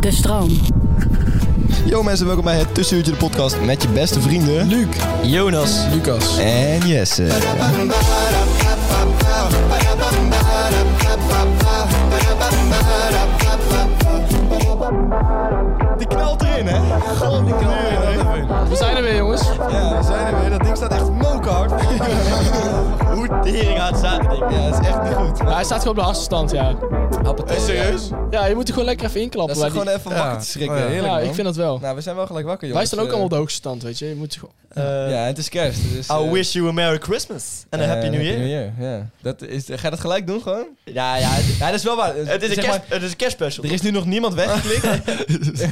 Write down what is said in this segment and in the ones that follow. De stroom. Yo mensen, welkom bij het Tussenuurtje de podcast met je beste vrienden... Luc, Jonas Lucas. en Jesse. Die knalt erin, hè? God, die knalt erin. We zijn er weer, jongens. Ja, we zijn er weer. Dat ding staat echt mokerhard. Hoe tering hard staat het ding? Ja, dat is echt niet goed. hij staat gewoon op de achterstand, ja. Hey, Eh, serieus? Ja, je moet er gewoon lekker even inklappen. Dat is bij gewoon die- even wakker te schrikken. Ja. Heerlijk, Ja, man. ik vind dat wel. Nou, we zijn wel gelijk wakker, Wij jongens. Eh, staan ook allemaal op de hoogste stand, weet je. Je moet gewoon... Uh, Ja, het is kerst. Dus, I eh, wish you a Merry Christmas en een eh, Happy New Year. ja. Dat is, ga je dat gelijk doen gewoon? Ja, ja. Het, Ja, dat is wel waar. het is, een Zeg kerst, maar, het is een kerstspecial. er is nu nog niemand weggeklikt. Er is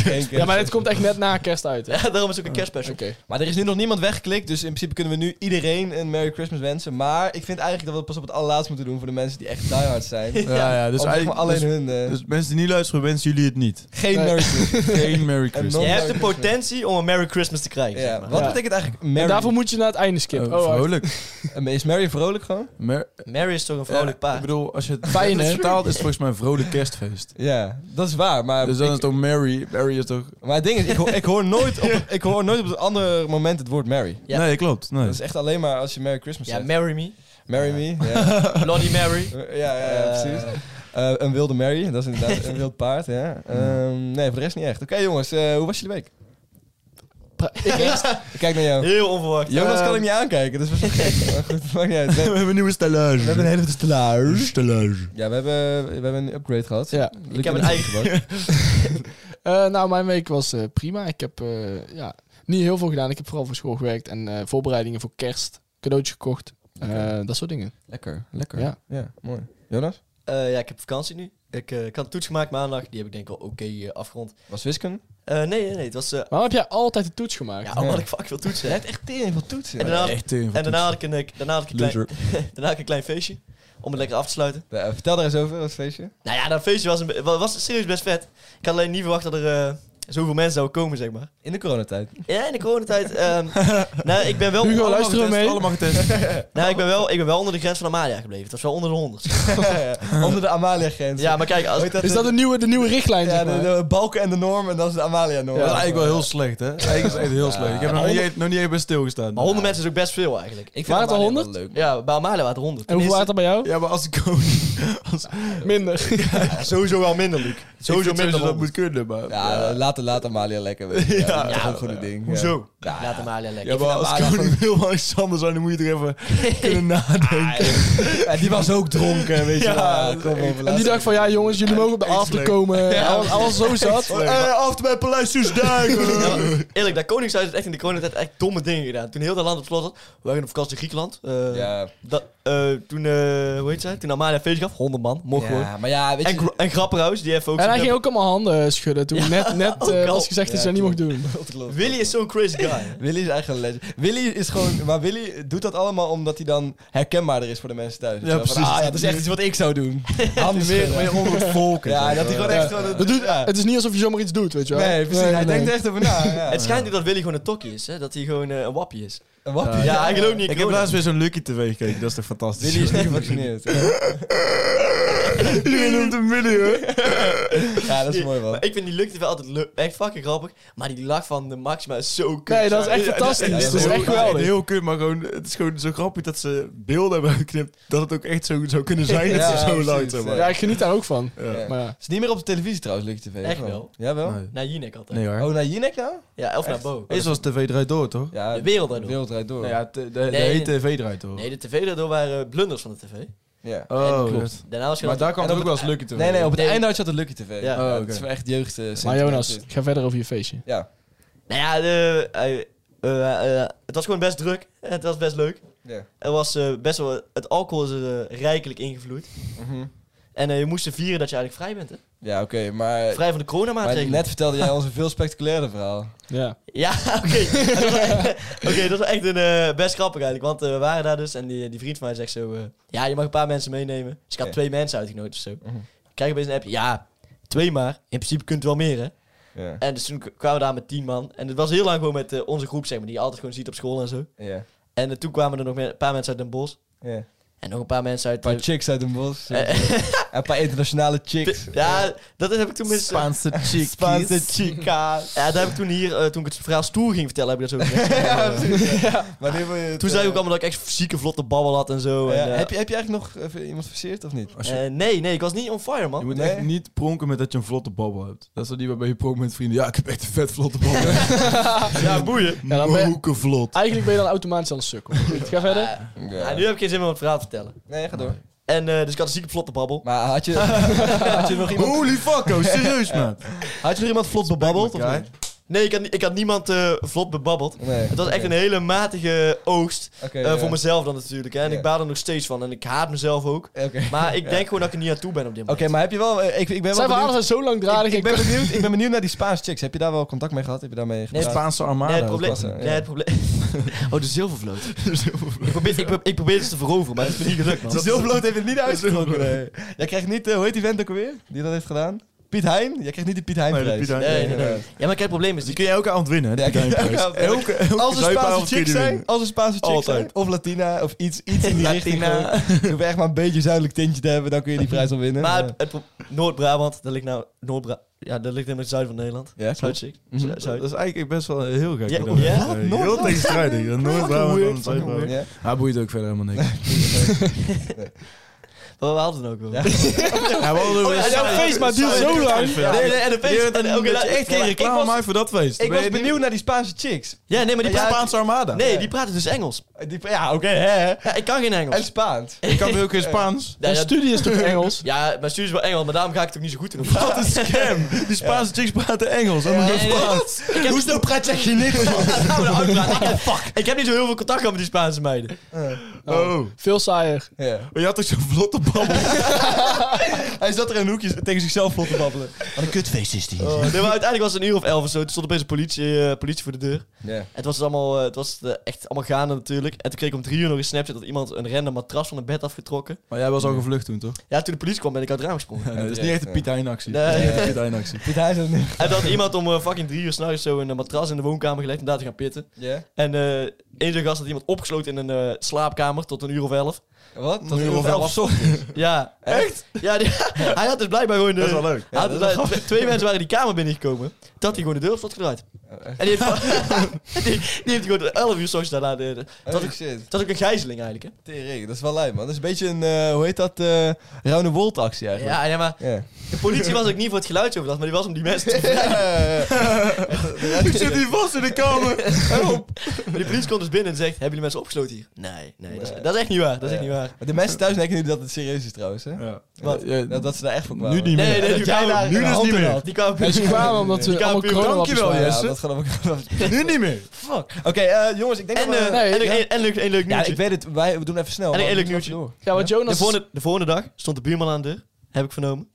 geen Ja, maar dit kerst. komt echt net na kerst uit, hè. Oké. Ja, daarom is het Oh, ook een kerstspecial. Maar er is nu nog niemand weggeklikt, dus in principe kunnen we nu iedereen een Merry Christmas wensen. Maar ik vind eigenlijk dat we het pas op het allerlaatst moeten doen voor de mensen die echt diehard zijn. Dus Ja. Ja, ja, dus eigenlijk eigenlijk... alleen dus, hun. eh, dus mensen die niet luisteren, wensen jullie het niet. geen Nee. Merry Christmas. Geen Merry En Christmas. Je nog- hebt de potentie om een Merry Christmas te krijgen. zeg Ja, maar. wat Ja. betekent eigenlijk Merry? Eh, En daarvoor moet je naar het einde skippen. Oh, Oh, wacht. vrolijk. Is Merry vrolijk gewoon? Mer- Merry is toch een vrolijk Ja, Ik paar. bedoel, als je het Fijn, als je hè? het vertaalt, is het volgens mij een vrolijk kerstfeest. Ja, dat is waar. Maar, Dus dan is ik, het ook Merry. Merry is toch... maar het ding is, ik hoor, ik hoor nooit op, ik hoor nooit op een ander moment het woord Merry. Ja. Nee, klopt. Nee. Dat is echt alleen maar als je Merry Christmas Ja, zegt. marry me. Marry me. Ja. Bloody Mary. Ja, ja, ja, Eh, precies. Eh, een wilde Mary, dat is inderdaad een wild paard. Ja. Ehm, nee, voor de rest niet echt. Oké jongens, eh, hoe was jullie week? Pra- Ik eerst? Ik kijk naar jou. Heel onverwacht. Jonas Eh, kan ik niet aankijken, dus we zijn gek. Maar goed, maakt niet uit. We, hebben een nieuwe stellage. we hebben een hele grote stelaar. stellage. Ja, we hebben, we hebben een upgrade gehad. Ja. Ik heb een eigen... Eh, nou, mijn week was eh, prima. Ik heb eh, ja, niet heel veel gedaan. Ik heb vooral voor school gewerkt en eh, voorbereidingen voor kerst. Cadeautjes gekocht. Eh, dat soort dingen. Lekker, lekker. Ja. Ja. mooi. Jonas? Eh, ja, ik heb vakantie nu. Ik, eh, ik had een toets gemaakt maandag. Die heb ik denk ik al oké eh, afgerond. Was wiskunde? Eh, nee, nee, nee. Het was... eh, Waarom heb jij altijd de toets gemaakt? ja, omdat ik fuck veel toetsen. heb. echt tering van toetsen. En daarna, Echt een en daarna had ik een, eh, daarna had ik een, klein, daarna had ik een klein feestje. Om het lekker af te sluiten. Ja, vertel daar eens over, dat feestje. Nou ja, dat feestje was, een, wa- was serieus best vet. Ik had alleen niet verwacht dat er eh, zoveel mensen zouden komen, zeg maar. In de coronatijd. Ja, in de coronatijd. ehm nou, ik ben wel, Hugo, allemaal luister getest. hem mee. Allemaal getest. Nou, ik ben wel, ik ben wel onder de grens van Amalia gebleven. Het was wel onder de 100. Onder de Amalia-grens. ja, maar kijk, als, Hoe heet Is dat de nieuwe, de nieuwe richtlijn, Ja, zeg de, maar? de balken en de norm en dat is de Amalia-norm. Dat is eigenlijk wel heel slecht, hè? Eigenlijk is het echt heel slecht. Ik heb nog niet, e- nog niet even bij stilgestaan. maar 100 mensen is ook best veel eigenlijk. Ik Waren het al Amalia wel 100? leuk. Ja, bij Amalia waren het 100. En hoeveel waren Tenminste, het er bij Ja, jou? maar als ik gewoon... Minder. ja, sowieso wel minder, Luc. Sowieso minder dan dat 100. moet kunnen, maar... Ja, laat, laat Amalia lekker. weet je. Ja, dat is Ja, toch ook gewoon een ding. Hoezo? Ja. Laat Amalia lekker. Ja, maar vind als Amalia koning wil Alexander zijn, dan moet je er even kunnen nadenken. Ja, die was ook dronken, weet je Ja, wel. dat Kom op, En die laat- dacht van, ja jongens, jullie mogen op de Echt after leuk. komen. Alles, alles zo zat. Eh, af bij Paleis Soesdijk! Ja, maar eerlijk, dat Koningshuis heeft echt in de coronatijd echt domme dingen gedaan. Toen heel dat land op slot zat. We waren op vakantie in Griekenland. Eh, Ja, dat, eh, toen, eh, hoe heet zij? Toen Amalia een feestje gaf. 100 man, mocht gewoon. ja, maar ja, weet En, je... Gra- en Grapperhaus, die heeft ook... En hij zo'n- ging ook allemaal handen schudden toen. net net eh, al. was gezegd dat ze dat niet mocht doen. Willy is zo'n crazy guy. Willy is eigenlijk een legend. Willy is gewoon... Maar Willy doet dat allemaal omdat hij dan herkenbaarder is voor de mensen thuis. Zo van, precies. ah, ja, dat is echt iets wat ik zou doen. Handen Meer, schudden. meer onder het volk. en Ja, zo. dat hij gewoon echt... gewoon- Dat doet, Het is niet alsof je zomaar iets doet, weet je wel. Nee, precies. Hij denkt er echt over na. ja. Het schijnt nu dat Willy gewoon een tokkie is, hè? dat hij gewoon eh, een wappie is. Een wappie. Ja, hij gelooft niet. in Ik heb corona. laatst weer zo'n Lucky TV gekeken, dat is toch fantastisch. Willy is niet gevaccineerd. Iedereen noemt hem Willy, hoor. Ja, dat is mooi Maar man. ik vind die lucht wel altijd leuk. echt fucking grappig. Maar die lach van de Maxima is zo kut. Nee, dat is echt Ja, fantastisch. dat Het is heel- echt geweldig. Heel kut, maar gewoon, het is gewoon zo grappig dat ze beelden hebben geknipt. Dat het ook echt zo zou kunnen zijn. Ja, dat ze zo precies, luid zijn. Ja, ik geniet daar ook van. Maar ja. Is niet meer op de televisie trouwens, Lucky TV. of Echt wel? Ja, wel? Naar Jinek altijd. Nee hoor. Oh, naar Jinek nou? Ja, of naar Echt? Bo. Eerst was TV draait door, toch? Ja, De wereld daardoor. wereld draait door. Nou ja, de, de, de Nee, hele nee. TV draait door. Nee, de tv daardoor waren blunders van de tv. Ja. Oh, En klopt. Daarna was je Maar altijd- daar kwam het en op ook wel eens lukken te Nee, nee, op het Nee. einde had je altijd Lucky TV. Ja. Oh, Dat is oké. wel echt jeugd. eh, maar sentiment Jonas, dit. ga verder over je feestje. Ja. Nou ja, de, eh, eh, eh, het was gewoon best druk. Het was best leuk. ja. Er was eh, best wel... Het alcohol is er eh, rijkelijk ingevloed. Mhm. En eh, je moest er vieren dat je eigenlijk vrij bent, hè? Ja, oké, maar, Vrij van de Eh, maar coronamaatregelen. net vertelde jij ons een veel spectaculairder verhaal. Ja. Ja, oké. Dat was echt- Oké, dat was echt een, eh, best grappig eigenlijk. Want eh, we waren daar dus en die, die vriend van mij zegt zo... eh, ja, je mag een paar mensen meenemen. Dus ik had Oké. twee mensen uitgenodigd of zo. Mhm. Ik krijg opeens een appje. Ja, twee maar. In principe kunt u wel meer, hè? Ja. En dus toen k- kwamen we daar met tien man. En het was heel lang gewoon met eh, onze groep, zeg maar. Die je altijd gewoon ziet op school en zo. Ja. En eh, toen kwamen er nog me- een paar mensen uit Den Bosch. Ja. Een En nog een paar mensen uit... eh, paar chicks uit een bos. eh, Een paar internationale chicks. t- ja, dat heb ik toen mis... chick. Spaanse chica. Ja, dat heb ik toen hier, eh, toen ik het verhaal stoer ging vertellen, heb ik dat zo gezegd. Maar nu wil je het, Toen zei ik ook eh, allemaal dat ik echt zieke vlotte babbel had en zo. ja, en, eh, heb, je, heb je eigenlijk nog even iemand verseerd of niet? Als je- Eh, nee, nee, ik was niet on fire, Je man. moet Nee. echt niet pronken met dat je een vlotte babbel hebt. Dat is wel die waarbij je pronkt met vrienden. Ja, ik heb echt een vet vlotte babbel. Ja, boeien. Ja, dan ben je- Moke vlot. Eigenlijk ben je dan automatisch aan het sukkel. Goed, ga verder. Eh, Ja, Ah, nu heb ik geen zin meer om het verhaal te vertellen. Nee, ga door. En eh, dus ik had een zieke vlotte babbel. Maar had je, had je nog iemand, Holy fuck, oh, serieus man. Had je nog iemand vlot bebabbeld? Of niet? Nee, ik had, ni- ik had niemand eh, vlot bebabbeld. Nee. Het was echt Oké. een hele matige oogst. Oké, eh, ja. Voor mezelf dan natuurlijk. Hè. En Ja. ik baal er nog steeds van. En ik haat mezelf ook. Oké, Maar ik denk gewoon dat ik er niet aan toe ben op dit Oké, moment. maar heb je wel... eh, Ik, ik ben wel Zijn verhalen benieuwd, zijn zo langdradig. ik, ik ben benieuwd, ik ben benieuwd naar die Spaanse chicks. Heb je daar wel contact mee gehad? Heb je daarmee Nee, gepraat? Spaanse armada. Nee, het dat probleem... was het. Nee, het probleem... Oh, de zilvervloot. Ik probeer, ik, pro- ik probeer het te veroveren, maar het is me niet gelukt, man. De Zilverloot heeft het niet uitgesproken. nee. Jij krijgt niet... eh, hoe heet die vent ook alweer? Die dat heeft gedaan? Piet Hein? Jij krijgt niet de Piet Hein Nee, de prijs. Piet Hein. Nee, nee, nee. Ja, maar kijk, het probleem is... Die kun je elke avond winnen, hè? Ja, die kun je Duimprijs. elke avond Elke- elke Als een duimpavond Spaanse kun je chick die zijn, winnen. als een Spaanse chick Altijd. zijn, of Latina, of iets, iets in die Latina. richting. gewoon. Je hoeft echt maar een beetje zuidelijk tintje te hebben, dan kun je die prijs al winnen. Maar Ja. het- het pro- Noord-Brabant, daar ligt nou... Noord-Bra... Ja, daar ligt helemaal het zuiden van Nederland. Ja, klopt. Zuid-Zicht. Mhm. Zu- Dat Zuid. is eigenlijk best wel heel gek. Ja, gedaan. ja? Eh, Nooit- Heel nooit- tegenstrijdig. Dat Nooit Brabant dan Zuid-Brabant. Ja. Hij boeit ook verder helemaal niks. Maar we hadden het ook wel. Ja. Hij wilde Oh, ja, wel- jouw feest, maar het duurt zo lang. Ja. Nee, nee, en de feest... en- oké, dat nou, je echt ik- geen reclame ik was- maakt voor dat feest. Ik Ben was je- benieuwd naar die Spaanse chicks. Ja, nee, maar Die die praat... Spaanse Armada. Nee, die praten dus Engels. Die, ja, oké, hè. Ja, ik kan geen Engels. En Spaans. Ik kan weer ook geen Spaans. Ja, ja, studie is toch Engels? ja, mijn studie is wel Engels, maar daarom ga ik het ook niet zo goed in. Wat een scam. Die Spaanse chicks praten Engels. En dan Nee, nee, nee. Spaans. Ik heb, Hoezo nou praat je geen niks? Gaan we nou uitpraten? Ik heb- ik heb niet zo heel veel contact gehad met die Spaanse meiden. Oh. Veel saaier. Ja. Maar je had toch zo'n vlotte babbel? Hij zat er in een hoekje tegen zichzelf vlot te babbelen. Wat een kutfeest is die. Oh, Nee, maar uiteindelijk was het een uur of elf of zo. Toen stond opeens de politie, eh, politie voor de deur. Ja. En het was, dus allemaal, eh, het was eh, echt allemaal gaande natuurlijk. En toen kreeg ik om drie uur nog een snapchat dat iemand een random matras van een bed afgetrokken. Maar jij was al gevlucht toen, toch? Ja, toen de politie kwam ben ik uit het raam gesprongen. Ja, nee, dat is niet echt een Piet Hein actie. Nee. Dat is niet echt een Piet Hein actie. Piet Hein zat nu. En dat iemand om eh, fucking drie uur s'nachts zo een matras in de woonkamer gelegd om daar te gaan pitten. Ja. En eh één zo'n gast had iemand opgesloten in een eh, slaapkamer tot een uur of elf. Wat? Tot uur of elf Ja. Echt? Ja, die- hij had dus blijkbaar gewoon... Dat is eh, wel leuk. hij had dus blijkbaar- twee, twee mensen waren die kamer binnengekomen. Dat had hij gewoon de deur op slot gedraaid. en die heeft, die, die heeft gewoon 11 uur s'nachts daarna... De, de- dat, was Oh ook, shit. dat was ook een gijzeling eigenlijk, hè? Tering, dat is wel lijp, man. Dat is een beetje een, eh, hoe heet dat, eh Ruine Wold actie eigenlijk. Ja, ja, maar Ja. de politie was ook niet voor het geluidsoverlast, maar die was om die mensen te Ik zit hier vast in de kamer. Maar die politie komt dus binnen en zegt, hebben jullie mensen opgesloten hier? Nee, nee, Dat, is, dat is echt niet waar, dat is echt niet waar. Maar De mensen thuis denken nu dat het serieus is trouwens, hè? Nou, Ja. Wat? Ja, Dat, dat ze daar echt voor kwamen. nu niet meer. Nee, nee, die jij kwamen- daar nu een dus hand niet in meer. had. Die kwamen... En ze kwamen omdat ze Die allemaal kampioen, corona dankjewel, waren. Jesse. Ja, dat gaat ook... Nu niet meer. Fuck. Oké, eh, jongens, ik denk En, dat we... eh, Nee, en, ja. en, en, leuk- en leuk ja, nieuwtje. ik weet het. Wij, we doen even snel. En een man. eerlijk We moeten nieuwtje. Ja, want de, Jonas... is- volgende, de volgende dag stond de buurman aan de deur, heb ik vernomen.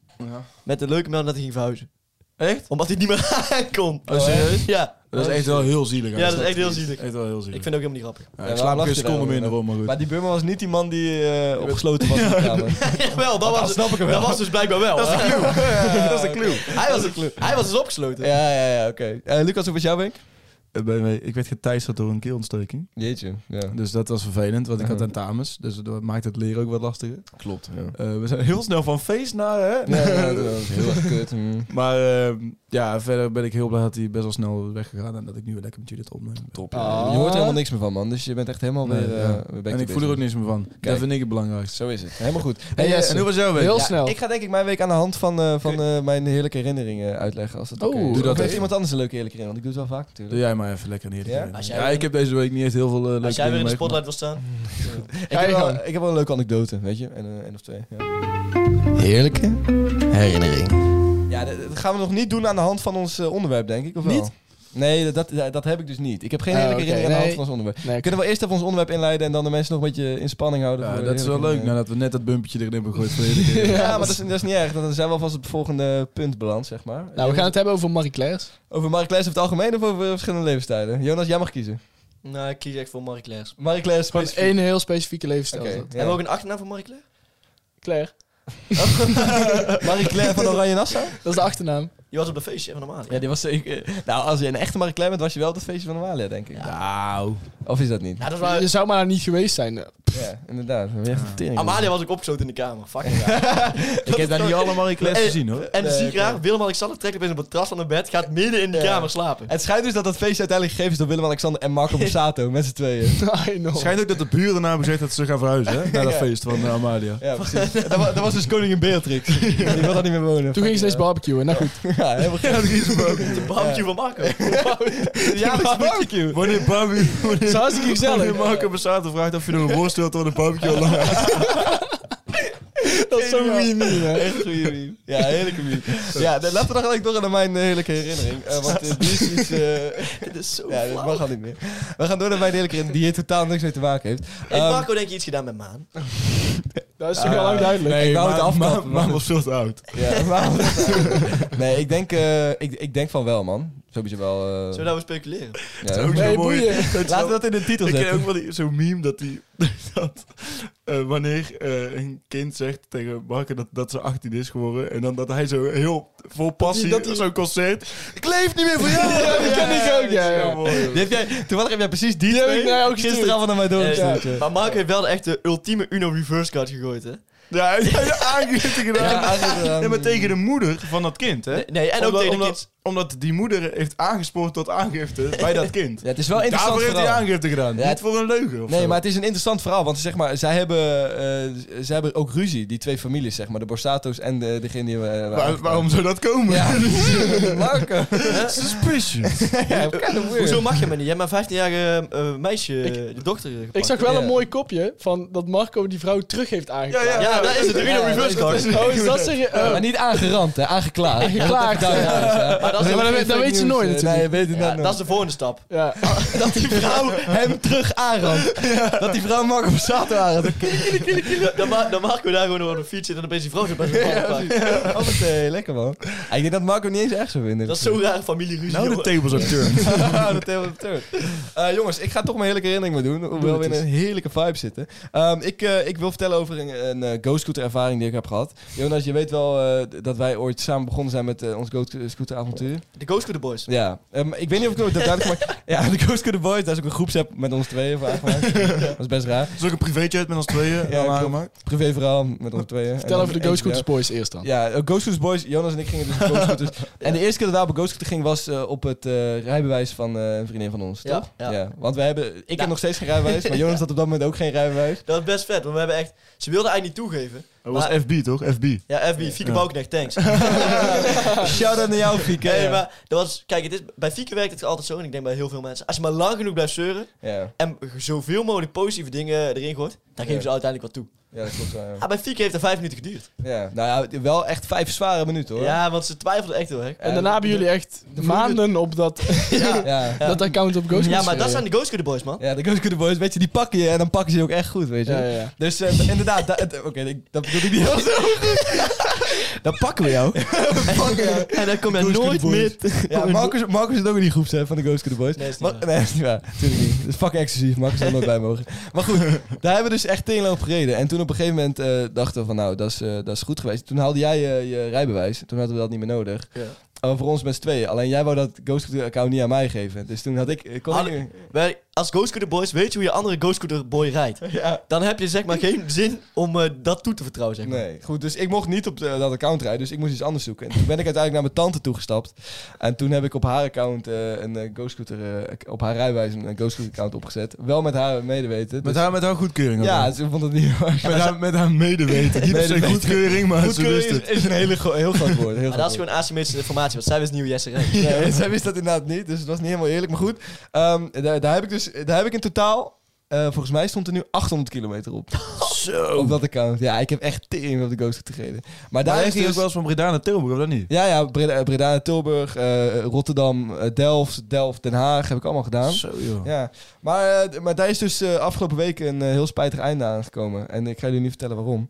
Met de leuke melding dat hij ging verhuizen. Echt? Omdat hij niet meer aankomt. Oh, serieus? Ja, Dat is echt wel heel zielig. Ja, eigenlijk. dat is echt heel zielig. Echt wel heel zielig. ik vind het ook helemaal niet Ja, grappig. Ja, ik waarom slaap lach geen je seconde meer daarover in de dan? rol, maar goed. Maar die buurman was niet die man die eh, opgesloten was in de kamer. Jawel, dat was, snap ik hem dat wel. was dus blijkbaar wel. Dat is de clue. Dat is de clue. hij, was, hij was dus opgesloten. Ja, ja, ja, oké. Eh, Lucas, hoe was jouw week? eh, bij mij. Ik werd geteisterd door een keelontsteking. Jeetje, ja. Dus dat was vervelend, want ik had Mhm. tentamens. Dus dat maakt het leren ook wat lastiger. Klopt, ja. Eh, we zijn heel snel van feest naar... Hè? Nee, ja, dat was heel erg kut. mm. Maar ehm, ja, verder ben ik heel blij dat hij best wel snel weggegaan en dat ik nu weer lekker met jullie het opneem. Top. Ah. Je hoort er helemaal niks meer van, man. Dus je bent echt helemaal Nee, weer... eh, ja. weer back to En ik voel er business. ook niks meer van. Kijk. Dat vind ik het belangrijkste. Zo is het. Helemaal goed. Hey, eh, Jesse. En hoe was jouw week? Heel ja, snel. Ik ga denk ik mijn week aan de hand van, eh, van eh, mijn heerlijke herinneringen uitleggen. Als dat Oh, oké is. doe Of dat heeft even. iemand anders een leuke heerlijke herinnering? Want ik doe het wel vaak Doe natuurlijk. jij maar even lekker neer. Ja? Ja, Als jij ja weer- ik heb deze week niet echt heel veel eh, leuke Als jij weer in de dingen meegemaakt. spotlight wil staan. Ik, heb je wel, gang. ik heb wel een leuke anekdote, weet je? En eh, één of twee. Ja. Heerlijke herinnering. Ja, dat dat gaan we nog niet doen aan de hand van ons eh, onderwerp, denk ik, of wel? Niet? Nee, dat, dat, dat heb ik dus niet. Ik heb geen Oh, heerlijke oké, herinnering aan de hand nee. van ons onderwerp. Nee, Kunnen we eerst even ons onderwerp inleiden en dan de mensen nog een beetje in spanning houden? Ja, voor de dat is wel leuk, Nou, heerlijke herinneringen? nadat we net dat bumpetje erin hebben gegooid. voor de hele keer. Ja, maar dat is, dat is niet erg. Dan zijn we alvast op het volgende punt beland, zeg maar. Nou, we gaan het hebben over Marie Claire's. Over Marie Claire over het algemeen of over verschillende levensstijlen? Jonas, jij mag kiezen. Nou, ik kies echt voor Marie Claire's. Marie Claire Gewoon specifiek. één heel specifieke levensstijl. Oké, is dat. ja. Hebben we ook een achternaam voor Marie Claire? Claire, Marie Claire van Oranje Nassau? dat is de achternaam. Je was op dat feestje van normaal. Ja, die was zeker... Nou, als je een echte Marie Claire bent, was je wel op het feestje van Amalia, denk ik. Nou, Of is dat niet? Nou, dat was Je zou maar daar niet geweest zijn. Ja, inderdaad. We hebben echt een tering. Amalia was ook opgesloten in de kamer. Fucking raar. ik heb daar niet allemaal in klas Eh, gezien hoor. En Nee, zie ik oké. raar, Willem-Alexander trekt opeens op het terras van het bed, gaat midden in de Ja. kamer slapen. Het schijnt dus dat dat feestje uiteindelijk gegeven is door Willem-Alexander en Marco Borsato, met z'n tweeën. I know. Het schijnt ook dat de buren daarna hebben gezegd dat ze gaan verhuizen hè, naar dat Ja. feest van eh, Amalia. Ja, precies. dat, was, dat was dus koningin Beatrix. Die wil daar niet meer wonen. Toen ging ze eens Fucking, barbecuen. Nou goed, eh, Ja, helemaal gek. De barbecue van Marco. Ja, dat is barbecue. Wanneer Barbie, Het is wanneer, hartstikke wanneer gezellig. Marco Bassato vraagt of je nog een worst wilt, dan een barbecue al lang uit. Dat is zo'n goede meme, hè? Echt een goede meme. Ja, heerlijke meme. Ja, dan laten we dan gelijk door naar mijn eh, heerlijke herinnering. Eh, want eh, die is iets... eh, Dit is zo ja, dat flauw. mag al niet meer. We gaan door naar mijn heerlijke herinnering, die hier totaal niks mee te maken heeft. Heeft Ehm, Marco denk je iets gedaan met Maan? dat is toch wel lang duidelijk. Ah, Nee, ik wou het maar- afkappen, maar- Maar was veel te oud. ja, maar, nee, ik denk, eh, ik, ik denk van wel, man. Sowieso wel... eh, Zullen we daarover speculeren? ja. Ook Nee, zo mooi. boeien. Laten we dat in de titel Ik zetten. ken ook wel die- zo'n meme dat die dat, eh, wanneer eh, een kind zegt tegen Marco dat, dat ze 18 is geworden en dan dat hij zo heel vol passie dat hij- zo'n concert. Ik leef niet meer voor jou. ja, dat ken ik ook, ja, ja. Die heb jij, toevallig heb jij precies die, heb twee ik mij ook gestuurd. gisteravond naar mij doorgestuurd. Eh, ja. Maar Marco heeft wel de echte ultieme Uno reverse card gegooid, hè? Ja, hij heeft de aangifte gedaan. Ja, eh, aangifte gedaan. Nee, maar tegen de moeder van dat kind, hè? Nee, nee, en ook Omdat- tegen de omdat, kids. omdat die moeder heeft aangespoord tot aangifte bij dat kind. Ja, het is wel een Daarvoor interessant heeft hij verhaal. aangifte gedaan. Ja, Niet voor een leugen of Nee, zo. maar het is een interessant verhaal. Want zeg maar, zij hebben, eh, zij hebben ook ruzie, die twee families, zeg maar. De Borsato's en de, degene die we... eh, Waar- waren- waarom zou dat komen? Ja, Marco. Suspicious. Ja, kind of Hoezo weird. mag je me niet? Je hebt maar 15-jarige eh, meisje, de dochter eh, gepakt. Ik zag wel Ja. een mooi kopje van dat Marco die vrouw terug heeft aangeklaagd. Ja, dat is het. De Uno Ja, reverse dat card. is- Oh, is dat zeg je? Maar niet aangerand, hè. Aangeklaagd. Aangeklaagd, Dat even duidelijk is, hè. Maar dat is Nee, ook maar geen weet- fake weet ze news, nooit eh, natuurlijk. Nee, weet het Ja, net dat is de volgende stap. ja. Ah, nooit. Dat die vrouw hem terug aanrandt. Dat die vrouw Marco Borsato aanrandt. Dan- Dan, ma- dan Marco daar gewoon op een fiets zit en opeens die vrouw zo bij zijn Ja, papa pakt. Oh, wat, eh, lekker man. Ah, ik denk dat Marco niet eens echt zo vinden. Dat is zo'n rare familieruzie. Nou, de jongen. tables are turned. de table of turn. Eh, jongens, ik ga toch mijn heerlijke herinnering maar doen. Hoewel we in een heerlijke vibe zitten. Ehm, ik, eh, ik wil vertellen over een, een eh, go-scooter ervaring die ik heb gehad. Jonas, je weet wel eh, dat wij ooit samen begonnen zijn met eh, ons go-scooter avontuur. de Ghost Scooter Boys. Ja, ehm, ik weet niet of ik het duidelijk maak. Ja, de Ghost Scooter Boys, daar is ook een groepsapp met ons tweeën voor aangemaakt. Dat is best raar. Dat is ook een privéchat met ons tweeën. Ja, Ja, klopt. Privéverhaal met ons tweeën. En Vertel dan over de één- Ghost Scooters Boys eerst dan. Ja, eh, Ghost Scooters Boys, Jonas en ik gingen dus op Ghost Scooters. En de eerste keer dat we op Ghost Scooter gingen was eh, op het eh, rijbewijs van eh, een vriendin van ons, Ja, toch? ja. Want we hebben, ik heb Ja. nog steeds geen rijbewijs, maar Jonas had op dat moment ook geen rijbewijs. Dat is best vet, want we hebben echt... Ze wilden eigenlijk niet toegeven. Dat was FB, toch? FB. Ja, FB, Fieke Ja. Bouknecht, thanks. Shout-out naar jou, Fieke. Nee, maar dat was... Kijk, het is, bij Fieke werkt het altijd zo, en ik denk bij heel veel mensen. Als je maar lang genoeg blijft zeuren Ja, en zoveel mogelijk positieve dingen erin gooit, dan geven Ja. ze uiteindelijk wat toe. ja, dat klopt wel, ja. Ah, bij Fieke heeft dat vijf minuten geduurd. ja. Nou ja, wel echt vijf zware minuten, hoor. Ja, want ze twijfelden echt heel erg. En daarna hebben jullie echt maanden op dat, Ja, Ja. dat account op Ghost ja Scooters maar dat gereden. zijn de Ghost Scooter Boys, man. Ja, de Ghost Scooter Boys, weet je, die pakken je en dan pakken ze je ook echt goed, weet je. Ja, ja, ja. Dus eh, inderdaad, da- het- oké, ik- dat bedoel ik niet heel zo. Dan pakken we jou. En dan kom je Ghost nooit Scooter meer... Boys. Ja, Marcus, Marcus zit ook in die groep hè, van de Ghost Kid Boys. Nee, is niet Maar- waar. nee, is niet waar. Natuurlijk niet. Dat is fucking exclusief. Marcus had er nooit bij mogen. Maar goed, daar hebben we dus echt tegen op gereden. En toen op een gegeven moment eh, dachten we van nou, dat is, eh, dat is goed geweest. Toen haalde jij eh, je rijbewijs. Toen hadden we dat niet meer nodig. Ja. eh, voor ons met z'n tweeën. Alleen jij wou dat GoScooter-account niet aan mij geven. Dus toen had ik... eh, Kon Had- ik- Wij, als Ghost Scooter Boys weet je hoe je andere Ghost Scooter Boy rijdt. ja. Dan heb je zeg maar geen zin om eh, dat toe te vertrouwen, zeg maar. Nee, goed. Dus ik mocht niet op eh, dat account rijden, dus ik moest iets anders zoeken. En toen ben ik uiteindelijk naar mijn tante toegestapt. En toen heb ik op haar account eh, een eh, GoScooter... eh, op haar rijwijze een GoScooter-account opget. Wel met haar medeweten. Met Dus- haar, met haar goedkeuring. ook Ja, wel. ze vond het niet... met, haar, met haar medeweten. Niet per se Medeweten. goedkeuring, maar Goedkeuring ze is, wist het. is een hele gro- heel groot woord. Heel Maar groot dat is woord. gewoon asymmetrische informatie, want zij wist niet hoe Jesse rijdt. Nee, zij wist dat inderdaad niet, dus het was niet helemaal eerlijk. Maar goed, ehm, daar, daar heb ik dus daar heb ik in totaal, eh, volgens mij stond er nu 800 kilometer op. Zo! Op dat account. Ja, ik heb echt tering op de Ghost gereden. Oh. Maar daar Daar is ging ook dus... wel eens van Breda naar Tilburg, of dat niet? Ja, ja, Breda, Breda naar Tilburg, eh, Rotterdam, eh, Delft, Delft, Den Haag heb ik allemaal gedaan. Zo, joh. Ja, maar, eh, maar daar is dus eh, afgelopen week een eh, heel spijtig einde aangekomen. En ik ga jullie nu vertellen waarom.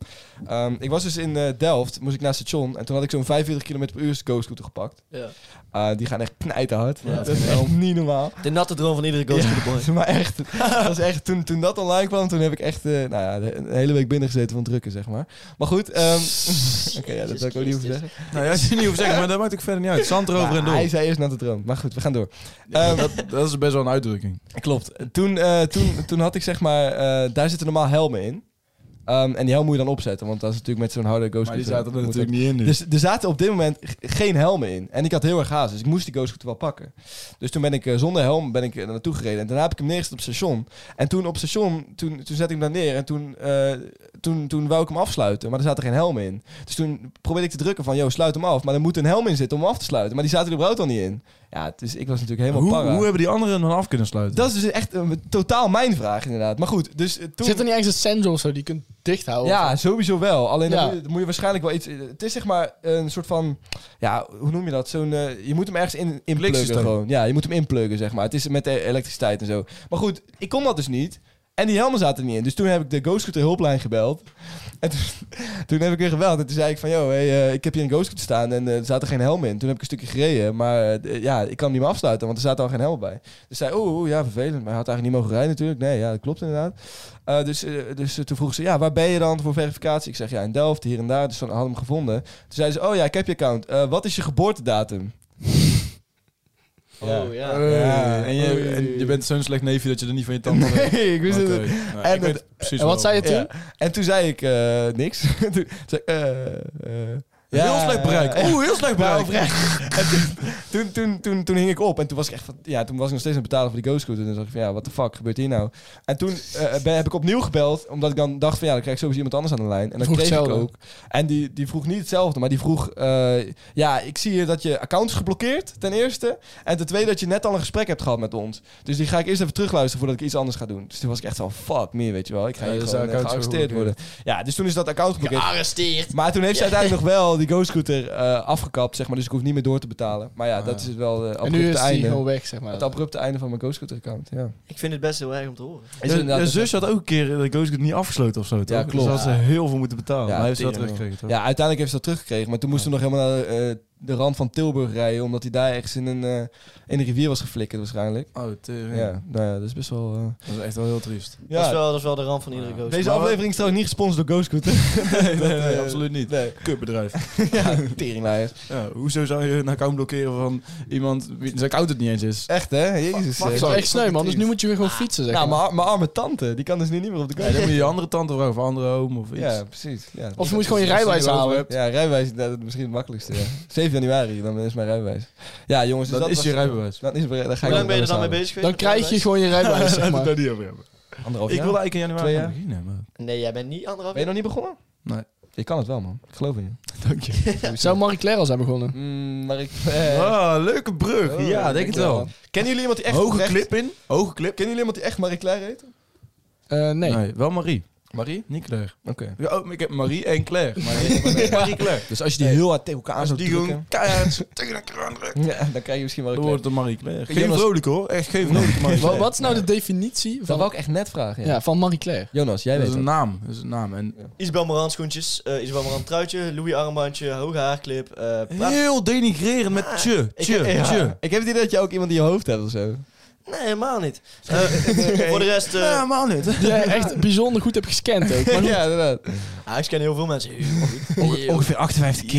Ehm, ik was dus in eh, Delft, moest ik naar het station. En toen had ik zo'n 45 km per uur Ghost scooter gepakt. Ja. Ah, die gaan echt knijterhard. Ja, dat is echt niet normaal. De natte droom van iedere Ghost Ja. Scooter Boy. Maar echt, dat is echt toen, toen dat online kwam, toen heb ik echt eh, nou ja, de, een hele week binnen gezeten van drukken, zeg maar. Maar goed, ehm, oké, ja, dat wil ik ook niet hoeven zeggen. Nou ja, als je niet hoeft te zeggen, maar dat maakt ook verder niet uit. Zand erover en Maar hij door. zei eerst naar de droom. Maar goed, we gaan door. Ehm, Dat, dat is best wel een uitdrukking. Klopt. Toen, eh, toen, toen had ik zeg maar, eh, daar zitten normaal helmen in. Ehm, en die helm moet je dan opzetten, want dat is natuurlijk met zo'n harde ghost. Maar die scooter- zaten er moet natuurlijk niet in nu. Dus er zaten op dit moment g- geen helmen in. En ik had heel erg haast, dus ik moest die GoScooter wel pakken. Dus toen ben ik eh, zonder helm ben ik er naartoe gereden. En daarna heb ik hem neergezet op het station. En toen op het station, toen, toen zette ik hem daar neer. En toen, eh, toen, toen wou ik hem afsluiten, maar er zaten geen helmen in. Dus toen probeerde ik te drukken van, yo, sluit hem af. Maar er moet een helm in zitten om hem af te sluiten. Maar die zaten er überhaupt al niet in. Ja, dus ik was natuurlijk helemaal Hoe, para. hoe hebben die anderen dan af kunnen sluiten? Dat is dus echt een, totaal mijn vraag, inderdaad. Maar goed, dus eh, toen... Zit er niet ergens een sensor of zo die je kunt dichthouden? of ja, zo? sowieso wel. Alleen dan Ja. moet, je, dan moet je waarschijnlijk wel iets... Het is zeg maar een soort van... Ja, hoe noem je dat? Zo'n, eh, je moet hem ergens in, inpluggen Bliksysteem. gewoon. Ja, je moet hem inpluggen, zeg maar. Het is met eh, elektriciteit en zo. Maar goed, ik kon dat dus niet. En die helmen zaten er niet in. Dus toen heb ik de GoScooter hulplijn gebeld. En toen, toen heb ik weer gebeld. En toen zei ik van... Yo, hey, eh, ik heb hier een GoScooter staan en eh, er zaten geen helm in. Toen heb ik een stukje gereden. Maar eh, ja, ik kan hem niet meer afsluiten, want er zaten al geen helm bij. Dus zei, oh, oh, ja, vervelend. Maar hij had eigenlijk niet mogen rijden natuurlijk. Nee, ja, dat klopt inderdaad. Eh, dus eh, dus eh, toen vroeg ze, ja, waar ben je dan voor verificatie? Ik zeg, ja, in Delft, hier en daar. Dus dan hadden we hem gevonden. Toen zei ze, oh ja, ik heb je account. Eh, wat is je geboortedatum? Oh, ja. Ja. en, je, Eh, Oh, en je bent zo'n slecht neefje dat je er niet van je tanden Nee, ik wist het Oké, nou, En ik weet het- precies En wat zei je waarom. toen? Ja. En toen zei ik eh, niks. toen zei ik, eh, eh, heel slecht bereik. ja. Oeh, heel slecht Ja, Nou, bereik. oprecht. En toen, toen, toen, toen, toen hing ik op en toen was ik echt van, ja, toen was ik nog steeds aan het betalen voor die GoScooter. En toen dacht ik van, ja, wat de fuck gebeurt hier nou? En toen eh, ben, heb ik opnieuw gebeld, omdat ik dan dacht van, ja, dan krijg ik sowieso iemand anders aan de lijn. En dat Vroeg kreeg ik hetzelfde. ook. En die, die vroeg niet hetzelfde, maar die vroeg, eh, ja, ik zie hier dat je account is geblokkeerd, ten eerste. En ten tweede dat je net al een gesprek hebt gehad met ons. Dus die ga ik eerst even terugluisteren voordat ik iets anders ga doen. Dus toen was ik echt van, fuck me, weet je wel. Ik ga Ja, hier dus gewoon de eh, account is gearresteerd worden. geblokkeerd. Ja, dus toen is dat account geblokkeerd. Gearresteerd. Maar toen heeft ze uiteindelijk nog wel die GoScooter eh afgekapt, zeg maar. Dus ik hoef niet meer door te betalen. Maar ja, Ah. dat is het wel eh, En abrupte nu is die einde. gewoon weg, zeg maar. Het abrupte einde van mijn GoScooter-account, ja. Ik vind het best heel erg om te horen. Is Je- inderdaad dus- je een- zus had ook een keer de GoScoot niet afgesloten of zo, toch? klopt. Dus had ze Ja. heel veel moeten betalen. Ja, maar hij heeft ze wel tering, teruggekregen, toch? Ja, uiteindelijk heeft ze dat teruggekregen. Maar toen moesten we nog helemaal naar eh, de rand van Tilburg rijden. Omdat hij daar ergens in een, eh, in een rivier was geflikkerd waarschijnlijk. Oh, tering. Ja, nou ja, dat is best wel... eh, Dat is echt wel heel triest. Dat, is wel, dat is wel de ramp van iedere Ghost Deze Maar- aflevering is trouwens niet gesponsord door GoScooter. Nee, nee, eh, absoluut niet. nee. Kutbedrijf. ja, teringlaaiers. Ja, hoezo zou je een account blokkeren van iemand wie zijn account het niet eens is? Echt, hè? Jezus. Dat eh. is wel echt sneu, man. Dus nu moet je weer Ah. gewoon fietsen, zeg Nou, maar. mijn mijn arme tante, die kan dus nu niet meer op de Ja, dan GoScooter. moet je je andere tante vragen of andere oom of iets. Ja, precies. Ja. Of je moet gewoon je rijbewijs halen. Ja, rijbewijs is dat misschien het makkelijkste. Ja. 7 januari, dan is mijn rijbewijs. Ja, jongens, dus Dat is was- je rijbewijs. Dan is mijn- dan ga Hoe ik lang ben je er dan mee samen. bezig geweest? Dan met krijg je rijbewijs? gewoon je rijbewijs, zeg maar. Daar niet over hebben. Anderhalf Ik jaar? wilde eigenlijk in januari Twee gaan beginnen, maar... Nee, jij bent niet anderhalf Ben je nog niet begonnen? Nee. Je kan het wel, man. Ik geloof in je. Dank je. Zou Marie Claire al zijn begonnen? Mm, maar ik... Ah, leuke brug. Eh. Oh, ja, denk het dankjewel, wel. man. Kennen jullie iemand die echt... Hoge oprecht- clip in. Hoge clip. Kennen jullie iemand die echt Marie Claire heet? Eh, nee. Nee, wel Marie. Marie? Niet Claire. Oké. Ja, oh, ik heb Marie en Claire. Marie, Marie Claire. Dus als je die heel hard tegen elkaar Als zou die drukken... gewoon keihard tegen elkaar aandrukt, Ja, dan krijg je misschien Marie dan Claire. wordt het Marie Claire. Geen Jonas- vrolijk hoor, echt geen vrolijk Marie Wa- Claire. Wat is nou de definitie Dat van, wou ik echt net vragen, ja. ja, van Marie Claire? Jonas, jij Dat weet is een het. naam, dat is een naam. En Isabel Moran schoentjes, eh, Isabel Moran truitje, Louis armbandje, hoge haarclip. eh, pra- heel denigrerend met tje, tje, heb- ja. tje. Ik heb het idee dat je ook iemand in je hoofd hebt of zo. Nee, helemaal niet. Eh, voor de rest, eh, Ja, man niet. Die jij echt bijzonder goed hebt gescand ook. Maar ja, inderdaad. ah, ik ken heel veel mensen. Ongeveer 58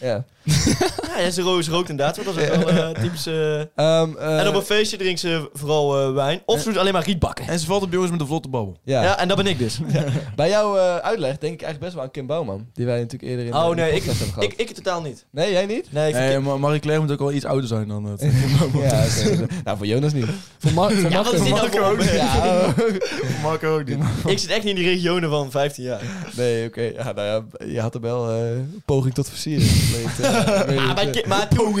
Ja. ja, ja, ze ro- ze rookt inderdaad. want Dat is ook wel eh, typisch... eh, Ehm, eh, en op een feestje drinkt ze vooral eh, wijn. Of ze doet alleen maar rietbakken. En ze valt op jongens met een vlotte babbel. ja. Ja, en dat ben ik dus. Bij jouw eh, uitleg denk ik eigenlijk best wel aan Kim Bouwman. Die wij natuurlijk eerder in in Oh de nee, ik, podcast hebben gehad. ik, ik totaal niet. nee, jij niet? Nee, ik vind Hey, maar Marie Claire moet ook al iets ouder zijn dan het. ja, oké. nou, voor Jonas niet. Voor Mar- voor Ja, Marco- dat is niet Mar- nou voor- Ja, Marco ook niet. Ik zit echt niet in de regionen van 15 jaar. nee, oké. Ja, nou ja, je had er wel eh, een poging tot versiering. gepleegd, eh, weet Ah, ik, maar, eh. ki- maar toen...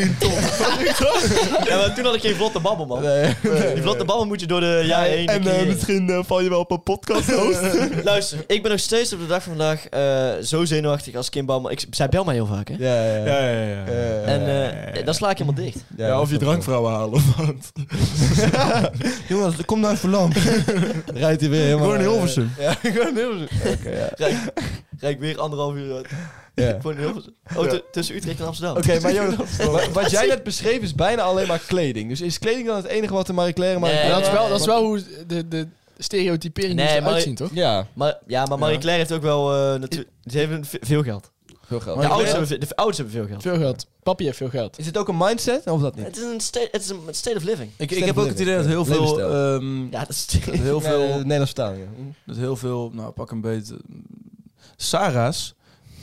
ja, maar toen had ik geen vlotte babbel, man. Nee. Die vlotte babbel moet je door de jaren heen En eh, creëren. misschien eh, val je wel op een podcast host. Luister, ik ben nog steeds op de dag van vandaag eh, zo zenuwachtig als Kim Bouwman. Ik, zij belt mij heel vaak, hè? Ja, ja, ja. ja, ja. Eh, En eh, dan sla ik helemaal dicht. ja, Ja, dat of je snap ik wel. drankvrouwen halen. Want... Jongens, kom nou even lang. Rijdt hij weer helemaal... Gewoon in eh, Hilversum. Ja, gewoon in Hilversum. Oké, ja. Rijd, rijd ik weer anderhalf uur uit. ja. Voor heel veel- Oh, t- tussen Utrecht en Amsterdam. Oké, maar Jonas, wa- wat jij net beschreef is bijna alleen maar kleding. Dus is kleding dan het enige wat de Marie Claire Marie Nee, Ja, Claire- dat, is wel, dat is wel hoe de, de stereotypering Nee, moest eruit maar- zien, toch? Ja, Maar, ja, maar Marie Ja. Claire heeft ook wel... eh, natu- ze heeft ve- veel geld. veel geld. De Ja, ouders, is- hebben, ve- de ouders hebben veel geld. Veel geld. Papi heeft veel geld. Is het ook een mindset of dat niet? Het is een state, het is een state of living. Ik, ik Stel heb ook voor het in. idee dat heel veel... Levensstijl. ehm, Ja, dat is... dat heel Nee, eh, veel... Nederlands vertaling. ja. Dat heel veel... Nou, pak een beet... eh, Sarah's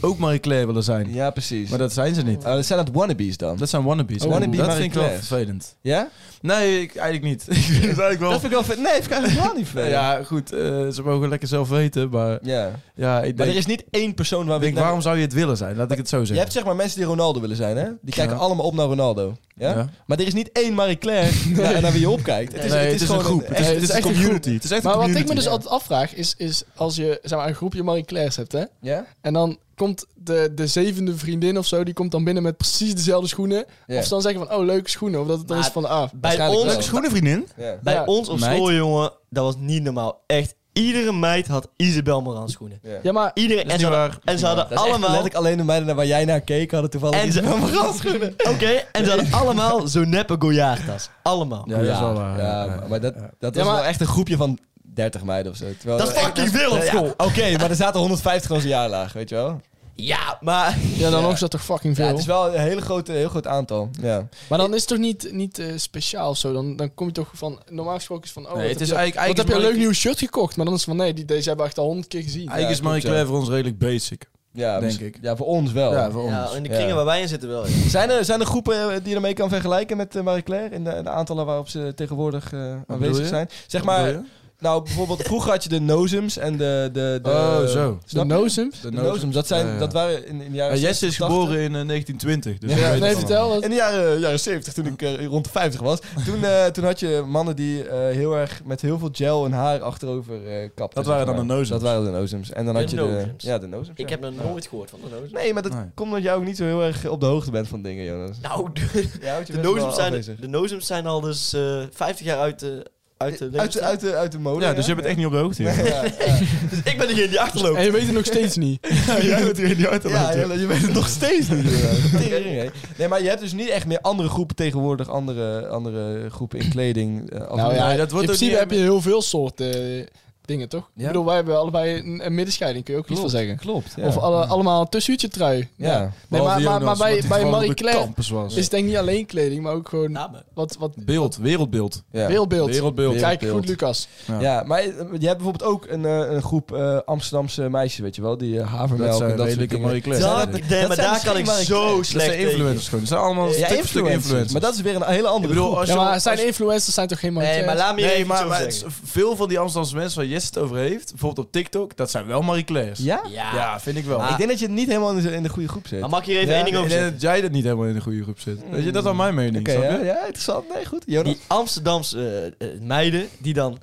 ook Marie Claire willen zijn. Ja, precies. Maar dat zijn ze niet. Oh, dat zijn dat wannabes dan? Dat zijn wannabes. Oh, wannabe dat Marie vind ik wel Claire's. vervelend. ja? Nee, ik, eigenlijk niet. Ik vind het eigenlijk wel... Dat vind ik wel vet. Nee, vind ik eigenlijk helemaal niet vet. ja, goed. eh, ze mogen lekker zelf weten, maar... Ja. Ja, ik Maar denk... er is niet één persoon waar Ik we... denk, waarom zou je het willen zijn? Laat ik het zo Je zeggen. hebt zeg maar mensen die Ronaldo willen zijn, hè? Die kijken Ja. allemaal op naar Ronaldo. Ja? Ja. Maar er is niet één Marie Claire naar, naar wie je opkijkt. Het is, Nee, het is, gewoon een groep. echt- Het het is is een echt een community. Het is echt een Maar wat ik me community. dus altijd afvraag is, is als je zeg maar, een groepje Marie Claire's hebt, hè? ja? En dan komt de, de zevende vriendin of zo, die komt dan binnen met precies dezelfde schoenen. Ja. Of ze dan zeggen van, oh, leuke schoenen. Of dat het dan Maar- is van, ah, Bij Waarschijnlijk wel. ons, Schoenen, vriendin? Ja. bij Ja. ons op Meid. school, jongen, dat was niet normaal. Echt, iedere meid had Isabel Moran schoenen. Ja. ja, maar Iedereen, Dat is en, ze niet hadden, waar. en ze hadden Dat is echt allemaal... letterlijk alleen de meiden naar waar jij naar keek hadden toevallig En ze- Isabel Moran schoenen. Oké, en ze hadden allemaal zo'n neppe Goyaard-tas. Allemaal. Ja, dat is wel waar. Ja, maar dat, dat Ja, was maar- wel echt een groepje van 30 meiden of zo. Terwijl Dat is fucking veel op Ja, school. Oké, maar er zaten 150 als een jaarlaag, weet je wel? Ja, maar... ja, dan Ja. nog is dat toch fucking Ja, veel. het is wel een hele grote, heel groot aantal. Ja. Maar dan is het toch niet, niet eh, speciaal of zo? Dan, dan kom je toch van, normaal gesproken is van, oh, Nee, wat het heb is je- eigenlijk... wat heb eigenlijk je een leuk Marie- nieuw shirt gekocht? Maar dan is het van, nee, die, deze hebben we echt al honderd keer gezien. Eigenlijk is Ja, Marie klopt, Claire voor ons redelijk basic. Ja, Denk mis- ik. Ja, voor ons wel. Ja, voor ons. Ja, in de kringen Ja. waar wij in zitten wel. ja. Zijn, er, zijn er groepen eh, die je ermee kan vergelijken met eh, Marie Claire? In de, de aantallen waarop ze tegenwoordig eh, bedoel aanwezig je? zijn? Zeg Wat bedoel maar, je? nou bijvoorbeeld vroeger had je de Nozems en de... de, de Oh, zo. de Snap je? nozems? De Nozems, dat, zijn, Ja, ja. dat waren in, in de jaren Ja, Jesse is 60, geboren in eh, 1920. Dus Ja, ik weet nee, het Nee, allemaal. vertel dat. In de jaren, jaren 70, toen ik eh, rond de 50 was, toen, eh, toen had je mannen die eh, heel erg met heel veel gel en haar achterover eh kapten. Dat waren zeg maar. dan de nozems. Dat waren de nozems. En dan De had je nozems. de. Ja, de nozems. Ik ja. heb nog nooit gehoord van de nozems. Nee, maar dat Nee. komt omdat jij ook niet zo heel erg op de hoogte bent van dingen, Jonas. Nou, de, Ja, want je de, bent wel nozems zijn, afwezig. de nozems zijn al dus eh 50 jaar uit de... Uit de, Uit de, Eh, uit de, uit de mode. Ja, dus je bent echt niet op de hoogte. joh. Ja, ja. Dus ik ben degene die achterloopt. En je weet het nog steeds niet. Jij bent hier in die auto. Ja, je, je weet het nog steeds niet. inderdaad. Tering, hè. Nee, maar je hebt dus niet echt meer andere groepen tegenwoordig, andere, andere groepen in kleding. eh, Nou ja, Nee, dat In wordt ook principe niet- heb je heel veel soorten eh, dingen, toch? Ja. Ik bedoel, wij hebben allebei een, een middenscheiding, kun je ook iets van zeggen. Klopt. Ja. Of alle, allemaal een tussenuurtje trui. ja. Nee, maar, maar, maar Behalve Jonas, bij, wat bij die Marie op de Claire campus was. is het denk Dus ik niet alleen kleding, maar ook gewoon Namen. wat, wat Beeld, wereldbeeld. ja. wereldbeeld. Wereldbeeld. Kijk Wereldbeeld. goed, Lucas. Ja, maar eh, je hebt bijvoorbeeld ook een, eh, een groep eh, Amsterdamse meisjes, weet je wel, die eh, havermelk Dat en zijn dat soort redelijke dingen. Marie Claire. Dat- Dat nee, zijn maar daar kan ik misschien maar- zo dat slecht zijn tegen. influersers gewoon. Dat zijn allemaal Ja, stuk voor stuk influencers. influencers. Maar dat is weer een hele andere Ik bedoel, groep. als je... Ja, maar als- zijn influencers zijn toch geen Marie Nee, maar Claire? laat me hier Nee, even maar, zo maar het is zeggen. veel van die Amsterdamse mensen waar Jesse het over heeft, bijvoorbeeld op TikTok, dat zijn wel Marie Claire's. Ja? Ah, Ja. Ja, vind ik wel. Ik denk dat je het niet helemaal in de, in de goede groep zit. Maar mag ik hier even Ja, één ding over ik denk zeggen? dat jij dat niet helemaal in de goede groep zit. Weet je, dat is al mijn mening. Oké, snap ja, je? ja, interessant. Nee, goed. Jonas? Die Amsterdamse eh, eh, meiden die dan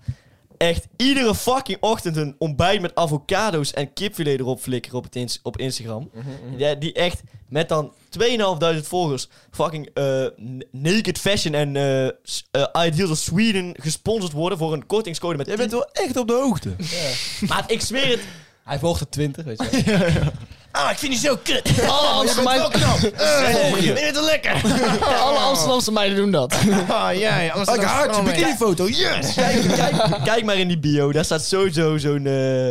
echt iedere fucking ochtend een ontbijt met avocado's en kipfilet erop flikkeren op, het ins- op Instagram. Ja, die echt met dan 2.500 volgers fucking eh, n- naked fashion en eh, s- eh, Ideals of Sweden gesponsord worden voor een kortingscode met... Jij bent wel echt op de hoogte. Maar ik zweer het. Hij volgt het 20, weet je wel. Ah, ik vind die zo kut. Oh, als mij... wel knap. ik vind het wel lekker. Alle Amsterdamse meiden doen dat. Ik haat je bikinifoto. Kijk, kijk, kijk maar in die bio. Daar staat sowieso zo'n eh,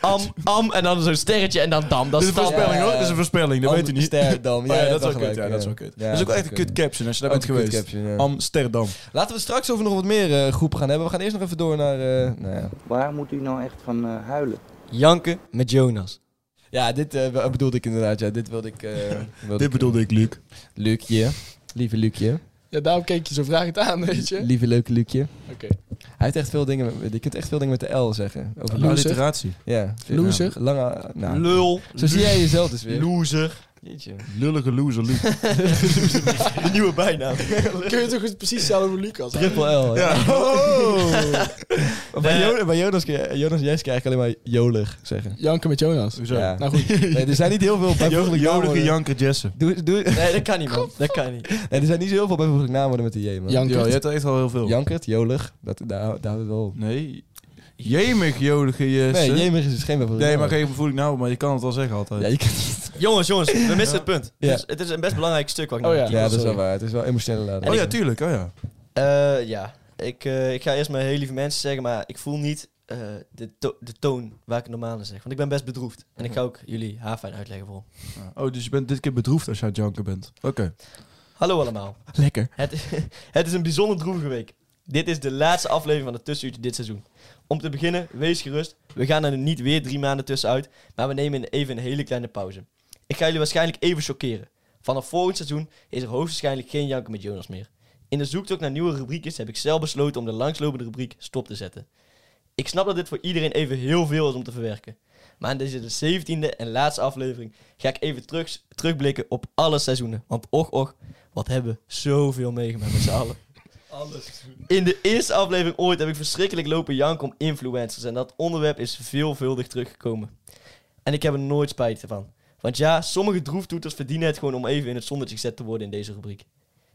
Am, am en dan zo'n sterretje en dan dam. Dat Dit is is een dan. voorspelling hoor, dit is een voorspelling, dat weet u niet. Amsterdam. Oh Ja, ja, je dat is hebt wel gelijk, kut. ja. Ja, dat is wel kut. Ja, dat is ook dat echt is een kut. kut caption als je daar bent Ook een kut geweest. caption, ja. Amsterdam. Laten we straks over nog wat meer eh, groepen gaan hebben. We gaan eerst nog even door naar... eh, nou ja. Waar moet u nou echt van eh, huilen? Janken met Jonas. ja, dit eh, be- bedoelde ik inderdaad. Ja, dit wilde ik... eh, wilde Dit bedoelde ik, Luc. Luukje. Lieve Luukje. Ja, daarom keek je zo vragend aan, weet je. Lieve leuke Luukje. Oké. Hij heeft echt veel dingen... met- Je kunt echt veel dingen met de L zeggen. Over Loser. Alliteratie. Ja. Loser. Lange... Nou, Lul. zo zie jij jezelf dus weer. Loser. Jeetje. Lullige loser, Luc. De nieuwe bijnaam. Kun je toch eens precies hetzelfde over Lucas? hè? Triple L. Ja. Oh. Maar bij, Nee. Jonas, bij Jonas, kun je- Jonas en Jeske eigenlijk alleen maar jolig zeggen. Janken met Jonas. Ja. Nou goed. Nee, er zijn niet heel veel bijvoeglijke Jolige naamwoorden. Janker Jessen. Doe, doe, Nee, dat kan niet, man. Dat kan niet. nee, er zijn niet zo heel veel bijvoeglijke naamwoorden met de J, man. Janken. Ja, je hebt er echt al heel veel. Jankert, jolig, dat, daar, daar houdt het wel op. Nee. Jemig jolige Nee, Jessen. eh, Nee, jemig is dus geen bijvoeglijk maar naamwoord. geen gevoel nou, maar je kan het wel zeggen altijd. Ja, je kunt- Jongens, jongens, we missen het punt. Ja. Dus het is een best belangrijk stuk wat ik Oh nou ja. kies. ja, dat is wel sorry. waar. Het is wel emotionele lading. oh ja, tuurlijk. Oh ja. Eh, ja, ik, eh, ik ga eerst mijn heel lieve mensen zeggen, maar ik voel niet eh, de, to- de toon waar ik het normaal in zeg. Want ik ben best bedroefd. En Mhm. ik ga ook jullie haar fijn uitleggen voor. Oh, dus je bent dit keer bedroefd als je aan het janken bent. Oké. Hallo allemaal. Lekker. Het, het is een bijzonder droevige week. Dit is de laatste aflevering van het tussenuurtje dit seizoen. Om te beginnen, wees gerust. We gaan er niet weer drie maanden tussenuit, maar we nemen even een hele kleine pauze. Ik ga jullie waarschijnlijk even shockeren. Vanaf volgend seizoen is er hoogstwaarschijnlijk geen Janken met Jonas meer. In de zoektocht naar nieuwe rubriekjes heb ik zelf besloten om de langslopende rubriek stop te zetten. Ik snap dat dit voor iedereen even heel veel is om te verwerken. Maar in deze de 17e en laatste aflevering ga ik even terug, terugblikken op alle seizoenen. Want och och, wat hebben we zoveel meegemaakt met z'n allen. In de eerste aflevering ooit heb ik verschrikkelijk lopen janken om influencers. En dat onderwerp is veelvuldig teruggekomen. En ik heb er nooit spijt van. Want ja, sommige droeftoeters verdienen het gewoon om even in het zonnetje gezet te worden in deze rubriek.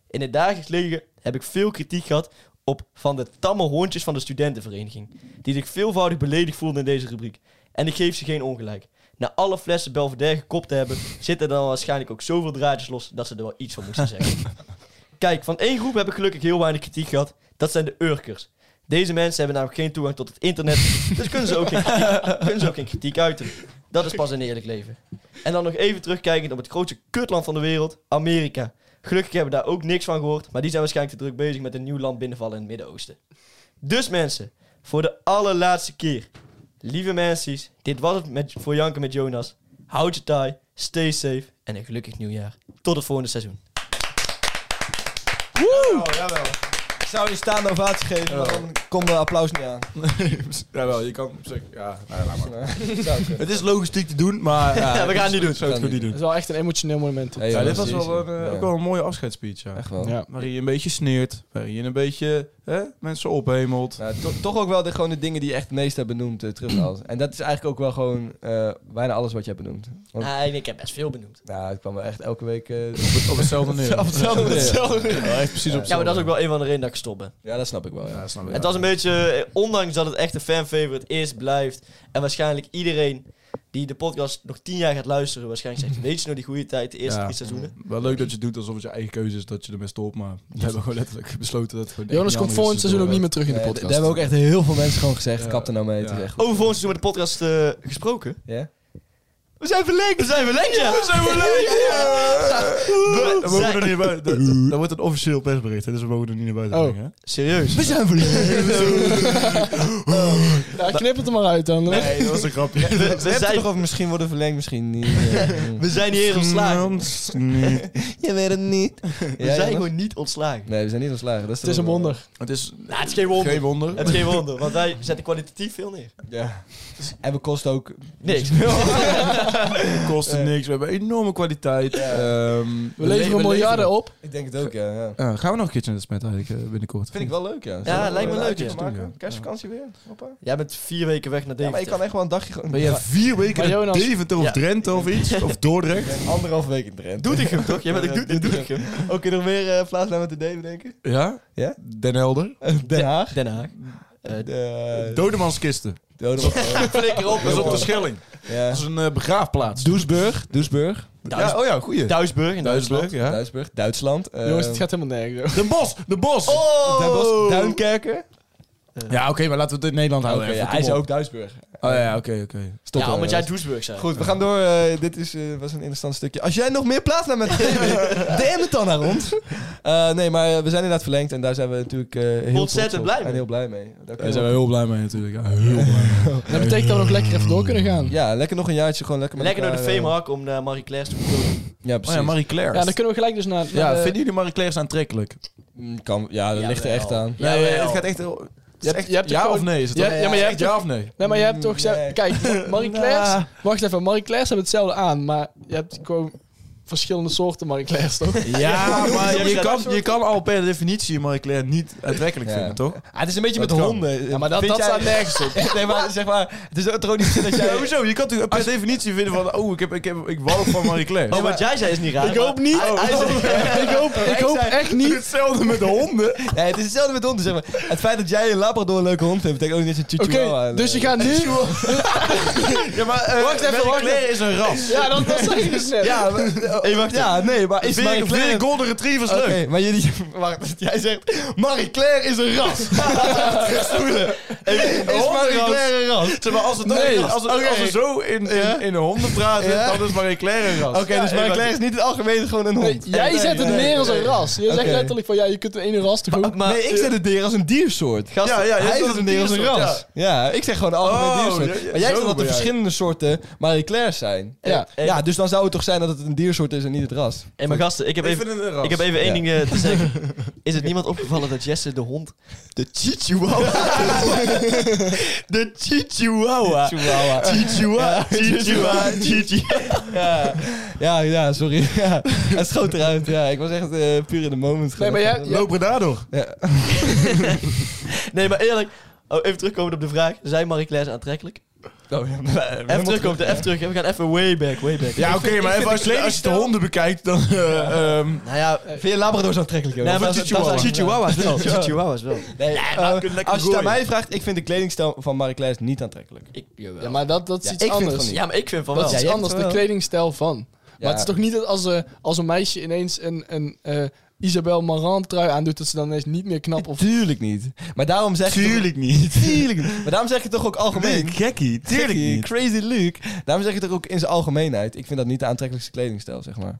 In het dagelijks leven heb ik veel kritiek gehad op van de tamme hondjes van de studentenvereniging. Die zich veelvoudig beledigd voelden in deze rubriek. En ik geef ze geen ongelijk. Na alle flessen Belvedere gekopt te hebben, zitten er dan waarschijnlijk ook zoveel draadjes los dat ze er wel iets van moesten zeggen. Kijk, van één groep heb ik gelukkig heel weinig kritiek gehad. Dat zijn de Urkers. Deze mensen hebben namelijk geen toegang tot het internet, dus kunnen ze ook geen kritiek, kunnen ze ook geen kritiek uiten. Dat is pas een eerlijk leven. En dan nog even terugkijkend op het grootste kutland van de wereld, Amerika. Gelukkig hebben we daar ook niks van gehoord, maar die zijn waarschijnlijk te druk bezig met een nieuw land binnenvallen in het Midden-Oosten. Dus mensen, voor de allerlaatste keer. Lieve mensen, dit was het met, voor Janken met Jonas. Houd je taai, stay safe en een gelukkig nieuwjaar. Tot het volgende seizoen. Oh, Ik zou je staande ovatie geven, maar dan komt de applaus niet aan. Jawel, je kan zeggen. Ja, Zou kunnen. Het is logistiek te doen, maar. Ja, we gaan het niet doen. Zou het goed niet doen. Dat is wel echt een emotioneel moment. Hey, Ja, dit jongens, was wel een, eh, Ja. ook wel een mooie afscheidsspeech. Ja. Echt wel. Ja. Waarin je een beetje sneert, waarin je een beetje hè, mensen ophemelt. Nou, to- toch ook wel de, gewoon de dingen die je echt het meest hebt benoemd eh, teruggehaald. En dat is eigenlijk ook wel gewoon eh, bijna alles wat je hebt benoemd. Want- Ah, ik heb best veel benoemd. Nou, het kwam wel echt elke week... eh, Op hetzelfde neer. op hetzelfde neer. precies op Ja, maar dat is ook wel een van de redenen dat ik stop ben. Ja, dat snap ik wel. Ja. Ja, snap ik. Het was een beetje, eh, ondanks dat het echt een fanfavorite is, blijft. En waarschijnlijk iedereen die de podcast nog tien jaar gaat luisteren, waarschijnlijk zegt: Weet je nog die goede tijd, de eerste Ja. drie seizoenen? Wel leuk dat je het doet alsof het je eigen keuze is dat je ermee stopt, maar we hebben gewoon letterlijk besloten dat het gewoon Jonas echt komt niet volgend anders is seizoen ook niet meer dan terug in de Nee, d- podcast. Eh, daar hebben ook echt heel veel mensen gewoon gezegd, Ja. kap er nou mee. Het Ja. is echt goed. Over volgens seizoen met de podcast eh, gesproken. Ja? We zijn verlengd! We zijn verlengd, ja! We zijn verlengd! We mogen er niet naar buiten. Dat, dat wordt een officieel persbericht, hè, dus we mogen er niet naar buiten Oh. brengen. hè. Serieus? We zijn verliezen. Nou, knip het er maar uit dan. Nee, dat was een grapje. We, we We zijn zijn, toch over misschien worden verlengd, misschien niet. eh, mm. we zijn niet eens ontslagen. Nee. Je weet het niet. We zijn gewoon niet ontslagen. Nee, we zijn niet ontslagen. Dat is Het is een wonder. Het is Nou, het is geen wonder. geen wonder. Het is geen wonder, want wij zetten kwalitatief veel neer. Ja. En we kosten ook... Niks. Het kost niks. We hebben enorme kwaliteit. Ehm, We leveren miljarden op. Ik denk het ook, ja. ja. Ja, gaan we nog een keertje naar de smet eigenlijk eh, binnenkort? Vind ik wel leuk, ja. Ja, lijkt me leuk, ja. maken. Kerstvakantie weer, papa. Jij bent vier weken weg naar Ja, maar Deventer. ik kan echt wel een dagje... gewoon- Ben jij vier weken Maar in Jonas- Deventer of Ja. Drenthe of iets? Of Dordrecht? Anderhalf week in Drenthe. Doe ik hem toch? Jij bent ook doet doe ik hem. Ook in nog meer eh, plaatsnamen te nemen, denk ik. Ja? Ja? Den Helder? Den Haag. Eh, Den Haag. De... Dodemanskisten. Dodeman- Flikker op. Dat is op de Schelling. Ja. Dat is een eh, begraafplaats. Doesburg. Doesburg. Ja, oh ja, goeie. Duisburg in Duitsland. Duitsburg, ja. Duitsburg. Duitsland. eh, Oh! Jongens, het gaat helemaal nergens. over. Oh! De Bos! De Bos! Den Bosch, Duinkerken. eh, Oh, Ja, oké, maar laten we het in Nederland houden. Oké, Oh, ja, even, hij kom is op. ook Duitsburg. Oh ja, oké, oké. ja, omdat jij Doesburg zei. Goed, we gaan door. eh, dit is, eh, was een interessant stukje. Als jij nog meer plaatsnaam hebt gegeven, DM het dan naar ons. Eh, nee, maar eh, we zijn inderdaad verlengd en daar zijn we natuurlijk eh, heel Ontzettend trots op blij mee. En heel blij mee. Daar Daar kunnen zijn we- we heel blij mee natuurlijk. Ja, heel blij mee. Dat betekent dat we nog lekker even door kunnen gaan. Ja, Ja, lekker nog een jaartje gewoon lekker met Lekker door de elkaar, eh, Veemark om naar Marie Claire's te komen. Ja, Oh precies. ja, Marie Claire. Ja, dan kunnen we gelijk dus naar... naar de- vinden jullie Marie Claire's aantrekkelijk? Mm, kan, ja dat ligt er echt aan. Ja, Nee, wel. het gaat echt heel... het je is hebt- echt je hebt ja toch of nee is het je toch? hebt- ja, maar je hebt ja of nee? Nee, maar je hebt toch... ze- Nee. Kijk, Marie Claire's... Wacht even, Marie Claire's hebben hetzelfde aan, maar je hebt gewoon verschillende soorten Marie Claire's, toch? Ja, maar je je kan- kan, je kan al per definitie Marie Claire niet aantrekkelijk Ja. vinden, toch? Ah, het is een beetje Dat met kan. honden. Ja, maar dat, Vind dat jij- staat nergens op. nee, maar zeg maar, het is ook toch niet zin dat jij... hoezo? Je kan toch per definitie vinden van... Oh, ik, heb, ik, heb, ik wou van Marie Claire. Oh, wat jij zei is niet raar. Oh. Ik hoop niet. ik hoop, ik hoop zei- echt niet. Hetzelfde met de honden. Nee, het is hetzelfde met honden, zeg maar. Het feit dat jij een Labrador een leuke hond vindt, betekent ook niet dat je een Oké, chihuahua... dus je gaat nu... Ja, maar eh, Wacht even, Marie wacht Claire is een ras. Ja, dat was ik dus net. Ja, maar- ja, nee, maar is Vind Marie ik- vind Claire... ik golden retrievers Oké, leuk. maar jullie... Wacht, jij zegt... Marie Claire is een ras. is Marie Claire een ras? Zeg maar, als, het Nee. als, het, Oké. als we zo in, in, in honden praten, Ja. dan is Marie Claire een ras. Oké, dus Marie Claire is niet in het algemeen gewoon een Nee, hond. jij zet het neer als een ras. Je zegt Oké. letterlijk van ja, je kunt de ene ras toch ook. nee, ik zet het neer als een diersoort. Gast, Ja, ja, jij hij zet zet het het neer als een diersoort, ras. Ja. ik zeg gewoon een algemeen Oh, diersoort. ja, ja, maar jij zo zegt dat er ben jij. verschillende soorten Marie Claire's zijn. Ja. Ja, dus dan zou het toch zijn dat het een diersoort is en niet het ras. En mijn gasten, ik heb Ik even... vind het een ras. Ik heb even één Ja. ding eh, te zeggen. Is het niemand opgevallen dat Jesse de hond de Chihuahua... de Chihuahua. Chihuahua. Chihuahua. Chihuahua. Ja, ja, ja sorry. Ja, het schoot eruit. Ja, ik was echt eh, puur in de moment. Nee, maar jij, jij- Lopen daardoor. Ja. Nee, maar eerlijk. Oh, even terugkomen op de vraag. Zijn Marie Claire aantrekkelijk? Oh, ja. Even terug op de F terug. We gaan even way back, way back. Ja, oké, maar even als, je- als je de honden bekijkt, dan... eh, ehm, Nou ja, Vind je Labrador's aantrekkelijk, joh? nee, maar een dat- Chihuahua. dat zijn Chihuahua's wel. Ja. Chihuahua's wel. Nee, eh, kun je lekker als je het aan gooien. mij vraagt, ik vind de kledingstijl van Marie Claire niet aantrekkelijk. Ik, jawel. ja, maar dat, dat is Ja, iets ik vind anders. van niet. Ja, maar ik vind van Dat wel. Ja, is iets jij anders, hebt de wel- kledingstijl van. Maar het is toch niet dat als, eh, als een meisje ineens een, een eh Isabel Marant trui aandoet, dat ze dan ineens niet meer knap of... Tuurlijk niet. Maar daarom zeg je... Tuurlijk niet. Tuurlijk niet. Maar daarom zeg je toch ook algemeen... gekkie. Tuurlijk Gekkie, niet. Crazy Luke. Daarom zeg je toch ook in zijn algemeenheid... Ik vind dat niet de aantrekkelijkste kledingstijl, zeg maar.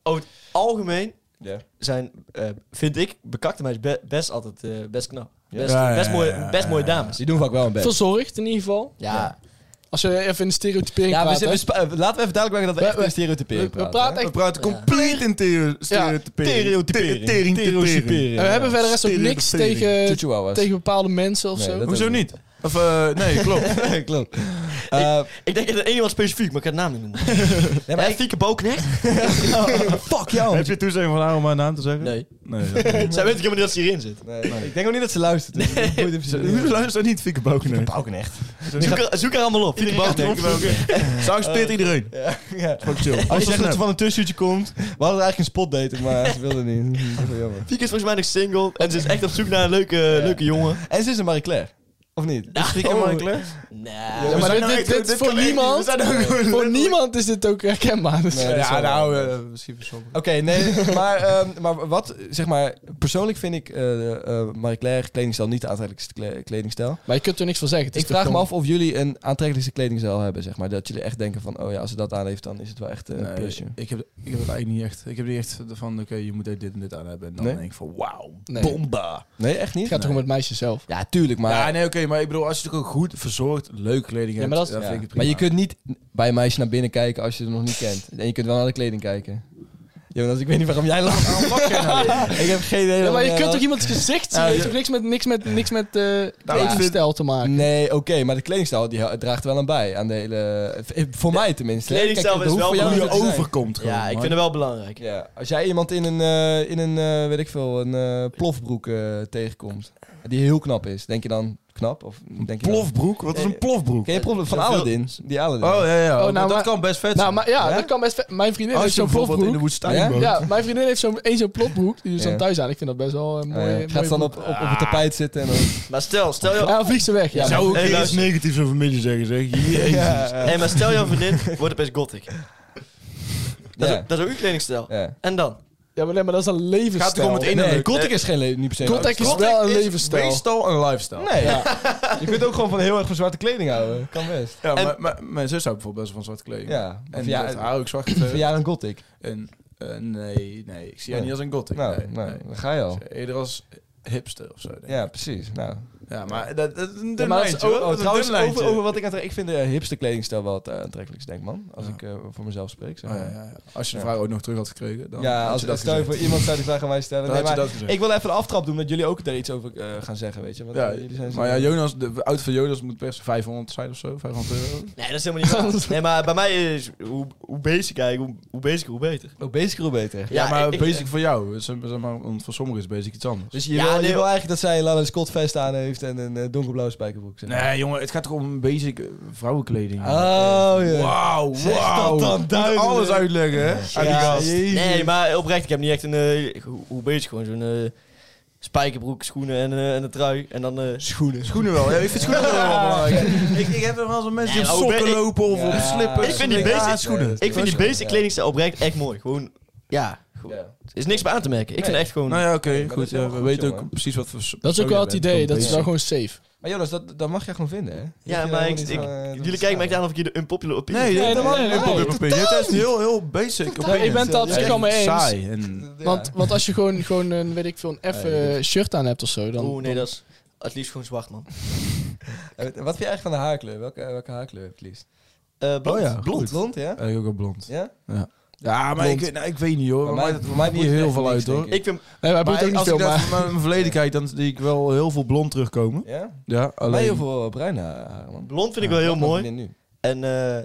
Algemeen Ja. zijn, eh, vind ik, bekakte meisjes be- best altijd eh, best knap. Best, Ja, ja, best, ja, mooie, ja, best ja, mooie ja. dames. Dus Die doen vaak wel een best. Verzorgd in ieder geval. Ja. Als je even in de stereotypering Ja, we praat. zijn- we hè. spa- eh, laten we even duidelijk maken dat we We- echt we- een stereotypering we, we praten. praten hè? echt... We praten compleet in theo- stereotypering. Stereotypering. Tering, tering. Stereotypering, en we hebben eh, ja. verder rest ook niks Stereotypering. tegen, Chihuahuas. tegen bepaalde mensen of Nee, zo. dat- Hoezo niet? Of, eh, nee, klopt. Klopt. Eh, Ik denk dat er één iemand specifiek, maar ik ga de naam niet noemen. nee, maar Hè, ik- Fieke Bouknecht? Fuck jou. Heb je toezegging van haar om haar naam te zeggen? Nee. Nee. Zij weet ook helemaal niet dat ze hierin zit. Nee, Ik denk ook niet dat ze luistert. Dus nee. Hoezo luistert niet Fieke Bokener? echt. Zoek, haar- zoek haar allemaal op. Fieke Bouknecht. Straks speelt iedereen. Ja. Fuck chill. Als je zegt dat ze van een tussenuurtje komt. We hadden eigenlijk een spotdating, maar ze wilde niet. Dat is wel jammer. Fieke is volgens mij nog single en ze is echt op zoek naar een leuke, leuke jongen. En ze is een Marie Claire. Of niet? Ja. Is Griek en Oh. Marie Claire? Nee. Ja, maar zijn dit, nou dit, echt- dit dit voor kan echt niemand... niet. We zijn nou gewoon- Voor niemand is dit ook herkenbaar. Dus. Nee, dat is wel waar. eh, misschien voor sommigen. Oké, nee, maar, ehm, maar wat, zeg maar, persoonlijk vind ik eh, eh, Marie Claire kledingstijl niet de aantrekkelijkste kle- kledingstijl. Maar je kunt er niks van zeggen. Het is Ik vraag toch me gewoon- af of jullie een aantrekkelijkste kledingstijl hebben, zeg maar. Dat jullie echt denken van, oh ja, als ze dat aan heeft, dan is het wel echt eh, een Nee, plusje. ik, heb, ik heb het eigenlijk niet echt. Ik heb niet echt van, oké, je moet dit en dit aan hebben. En dan Nee? denk ik van, wauw, Nee. bomba. Nee, echt niet? Het gaat toch om het meisje zelf. Ja, tuurlijk, maar... ja, nee, oké, maar ik bedoel, als je het ook goed verzorgd, leuke kleding Ja, hebt, maar dat is- dan Ja. vind ik het Maar prima. je kunt niet bij een meisje naar binnen kijken als je het nog niet kent. En je kunt wel naar de kleding kijken. Jonas, ik weet niet waarom jij lacht. nou? ik heb geen idee. Ja, maar waarom jij je kunt lacht. toch iemands gezicht zien? Het heeft toch niks met, niks met, niks met Nou, eh eetstijl te maken? Nee, oké, maar de kledingstijl die hou- draagt er wel aan bij. Aan de hele... eh, Voor mij tenminste. kledingstijl dat is hoeft wel voor jou Hoe belangrijk. je niet te zijn. overkomt gewoon. Ja, ik man. vind het wel belangrijk. Ja, als jij iemand in een, eh, in een eh, weet ik veel, een eh, plofbroek eh, tegenkomt. Die heel knap is. Denk je dan knap? Of denk je dan- Plofbroek? Wat is een plofbroek? Eh, Ken je problem van Zoveel- Aladdin? Die Aladdin. Oh, ja, ja. Oh, Oh, nou, dat maar- kan best vet Nou, zijn. maar ja, Ja? dat kan best... Mijn vriendin Als heeft je zo'n bijvoorbeeld in de plofbroek. woestijn Ja? woont. Ja, mijn vriendin heeft zo'n één zo'n plofbroek. Die ze Ja. dan thuis aan. Ik vind dat best wel eh, een Oh, mooie... ja. Gaat ze dan mooie op, op, op het tapijt zitten en dan... Maar stel, stel broek. jou, Ja, dan vliegt ze weg. Ja, Ja, Zou ik Hey, hey, iets luister. negatiefs over midden zeggen, zeg. Jezus. hey, maar stel jouw vriendin wordt opeens gothic. Dat, Ja. is, dat is ook uw kledingstijl. Ja. En dan? Ja, maar, nee, maar dat is een levensstijl. Gaat het om het Nee, in- Nee, Nee, Gothic is geen le- niet per se. Gothic is wel een levensstijl. Meestal een lifestyle. Nee. Je kunt ook gewoon van heel erg van zwarte kleding houden. Kan best. Ja, En- maar, maar mijn zus houdt bijvoorbeeld best wel van zwarte kleding. Ja. En Of ja, ja, haar ook zwart. Vind jij een gothic? En, eh, nee, nee. Ik zie haar Nee. niet als een gothic. Nou, nee, nou nee. dan ga je al. Dus Eerder als hipster of zo. denk ik. Ja, precies. Nou. Ja, maar dat, dat is een dun maar dat is lijntje, Oh, hoor. Dat is een trouwens, dun lijntje. over, over wat ik aantrek. Ik vind de hipster kledingstijl wel het eh, aantrekkelijkst, denk ik, man. Als Ja. ik eh, voor mezelf spreek. Zeg Oh, maar. ja, ja, ja, ja. Als je de Ja. vraag ooit nog terug had gekregen, dan had als je dat dat stel je gezegd. voor iemand zou die vraag aan mij stellen. Dan Nee, had je maar dat gezegd. ik wil even de aftrap doen, dat jullie ook daar iets over eh, gaan zeggen, weet je. Want, eh, jullie zijn ja, maar ja, Jonas, de auto van Jonas moet best 500 zijn of zo, 500 euro. Nee, dat is helemaal niet waar. Nee, maar bij mij is hoe, hoe basic eigenlijk, hoe, hoe basic, hoe beter. ook basic hoe beter. Ja, maar ik- basic voor jou. Zeg maar, want voor sommigen is basic iets anders. Dus je, Ja, wil, je nee, wil eigenlijk dat zij een Lana Scott vest aan heeft en een eh, donkerblauwe spijkerbroek. Zeg. maar. Nee, jongen, het gaat toch om basic eh, vrouwenkleding. Oh, ja. Wauw, Zeg wauw. dat dan Moet duidelijk. Alles uitleggen, hè? aan die Ja, gast. jezus. Nee, maar oprecht, ik heb niet echt een, eh, hoe, hoe basic, gewoon zo'n eh, spijkerbroek, schoenen en, eh, en een trui. En dan... eh, schoenen. Schoenen wel. Ja, ik vind schoenen wel heel belangrijk. ik, ik heb er wel eens mensen die Nee, op maar sokken ik- lopen of Ja. op slippers. Ik vind die Ja, basic- schoenen. Nee, dat ik vind die basic Ja. kledingstijl oprecht echt mooi. Gewoon, ja, gewoon- Ja. er is niks bij aan te merken. Ik vind echt gewoon... Nou ja, oké, maar dat goed. is Ja, helemaal we goed, weten jongen. ook precies wat voor soort Dat is ook wel persoon het je bent, idee. gewoon Dat is wel basic. gewoon safe. Maar Jonas, dat, dat mag jij gewoon vinden, hè? Ja, Dat je maar ik, helemaal ik- niet van, eh, dat jullie is kijken mij raar. echt aan of ik hier de unpopular opinie... Nee, Nee, dat nee, was nee, een opinion. Dit is heel, heel basic opinion. ik ben het Dat daar is totaal echt mee eens. Saai. En, Ja. Want, want als je gewoon, gewoon een, weet ik veel, een F Nee, eh, shirt aan hebt of zo, dan... Oeh, Oh, nee, dat is het liefst gewoon zwart, man. Eh, Wat vind je eigenlijk van de haarkleur? Welke, welke haarkleur heb je het liefst? Eh, blond. Oh ja. Blond. Blond, ja? Ja, ik ook al blond. Ja? Ja, maar ik, Blond. nou, ik weet niet Voor hoor. Voor mij- mij, voor voor mij mij niet moet het heel echt veel niks, uit denk hoor. ik. Ik vind... Nee, wij boeit ook niet als veel, ik naar maar... mijn verleden kijk, dan zie ik wel heel veel blond terugkomen. Ja? Ja, alleen... Alleen heel veel eh, bruine haren, man. Blond vind ik wel heel Wat mooi. ben je nu? En eh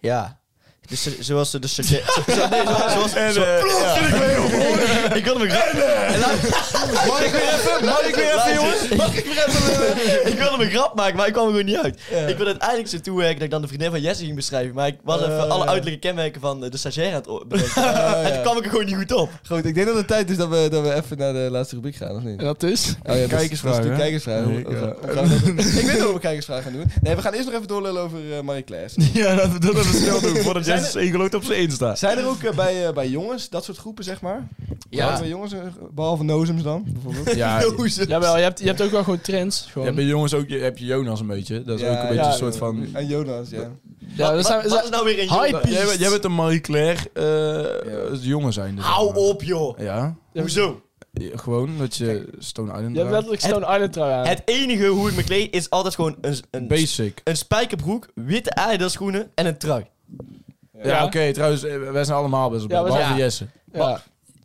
ja. Dus zo- zoals de, de sergeant. zo- zo- nee, zoals- zoals- zo- Ik wil hem een grap. En laat- Mag ik weer even? Mag ik weer even, jongens? Mag ik weer even? Ik wilde een grap maken, maar ik kwam er gewoon niet uit. Ik wil uiteindelijk zo toewerken dat ik dan de vriendin van Jesse ging beschrijven. Maar ik was even alle uiterlijke kenmerken van eh, de stagiair aan het o- bedenken. En toen kwam ik er gewoon niet goed op. Goed, ik denk dat het tijd is dat we, dat we even naar de laatste rubriek gaan, of niet? En dat is... Oh ja, dat is- Kijkersvraag, dat is de hè? kijkersvraag. Nee, ik, Hoe- hoe- eh, hoe gaan we dat- Ik weet niet hoe we kijkersvraag gaan doen. Nee, we gaan eerst nog even doorlullen over eh Marie Claire. Ja, dat, dat, dat is snel doen voordat jij Zijn is ingelogd op zijn Insta. Zijn er ook eh, bij, eh, bij jongens dat soort groepen, zeg maar? Behalve Bij jongens, eh, behalve Nozems dan, bijvoorbeeld. Ja, Jawel, je hebt, je hebt ook wel gewoon trends. je Gewoon. hebt bij jongens ook je, heb je Jonas een beetje. Dat is Ja, ook een beetje ja, een soort van... En Jonas, ja. ja, dat zijn, Wat, wat is nou weer een Hype. jongen? Jij, bent- jij bent een Marie Claire eh, Ja. als jongen zijn. dus. Hou op, joh. Ja, Hoezo? Ja, gewoon dat je Stone Island je hebt draagt. letterlijk Stone Island trui aan. Het enige hoe ik me kleed is altijd gewoon een, een, Basic. een spijkerbroek, witte Adidas schoenen en een trui. Ja, oké, trouwens, eh, wij zijn allemaal best wel, Ja, we zijn- behalve Ja. Jesse. ja.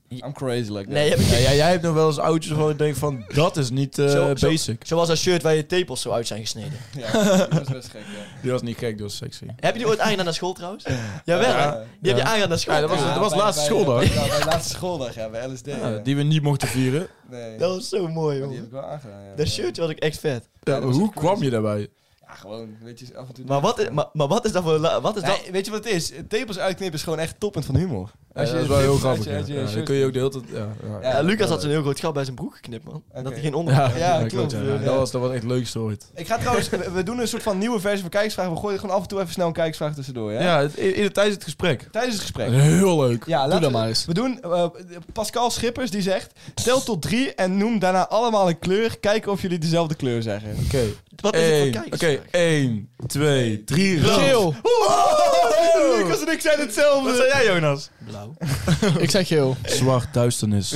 I'm crazy like that. Nee, heb ik Ja, jij, jij hebt nog wel eens oudjes waarvan ik denk van, dat is niet eh, Zo- zo- basic. Zoals dat shirt waar je tepels zo uit zijn gesneden. Ja, dat is best gek, ja. Die was niet gek, die was sexy. Heb je die ooit aangedaan naar school trouwens? Jawel, hè? Ja. Die heb je aangedaan naar school. Ja, dat was- Ja. laatste schooldag. bij- Ja, bij laatste schooldag, ja, bij LSD. Ja, ja. die we niet mochten vieren. Nee, Dat was zo mooi, die heb joh. ik wel aangedaan, ja. Dat shirtje was ik echt vet. Ja, dat was Eh, hoe echt kwam crazy. je daarbij? Ja, gewoon, weet je, af en toe... Maar wat is, maar, maar wat is dat voor... la- Wat is Nee, dat? weet je wat het is? Tepels uitknippen is gewoon echt toppunt van humor. Als je, je dat is wel heel tepels uit grappig. je- uit ja. je Ja, dan shirt- kun je ook de hele tijd... Ja, ja. Ja. Ja, Lucas had zo'n heel groot gat bij zijn broek geknipt, man. Dat hij geen onder... Ja, Ja, ja, klopt. klopt. ja. Ja. Dat, was, dat was echt het leukste ooit. Ik ga trouwens, we we doen een soort van nieuwe versie van kijkersvragen. We gooien gewoon af en toe even snel een kijkersvraag tussendoor, ja? Ja, het- in, in- tijdens het gesprek. Tijdens het gesprek. Heel leuk. Ja, Doe laten dat we- maar eens. We doen eh, Pascal Schippers die zegt: tel tot drie en noem daarna allemaal een kleur. Kijken of jullie dezelfde kleur zeggen. Oké, Wat is het voor één, kijkers? oké, één, twee, drie, rood. Oh! Geel. Oh! Oh, Lucas en ik zijn hetzelfde. Wat zei jij, Jonas? Blauw. Ik zeg geel. Zwart, duisternis,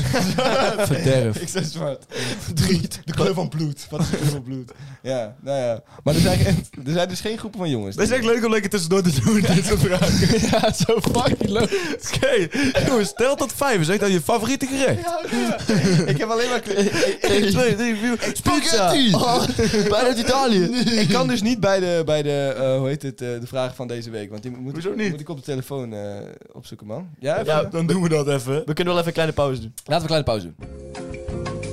verderf. Ik zei zwart. Drie, de kleur van bloed. Wat is de kleur van bloed? Ja, nou ja. Maar er zijn, er zijn dus geen groepen van jongens. Het is echt leuk om lekker tussendoor te doen, dit soort vragen. ja, zo fucking leuk. Oké, jongens, stel tot vijf en zeg dan je favoriete gerecht. Ja, oké. Ik heb alleen maar. kleur- Eén, twee, drie, vier. Spaghetti! Oh, bijna uit Italië. Ik kan dus niet bij de, bij de eh, hoe heet het, eh, de vraag van deze week. Want die moet, ik- moet ik op de telefoon eh, opzoeken, man. Ja, even- Ja, Dan doen we dat even. we kunnen wel even een kleine pauze doen. Laten we een kleine pauze doen.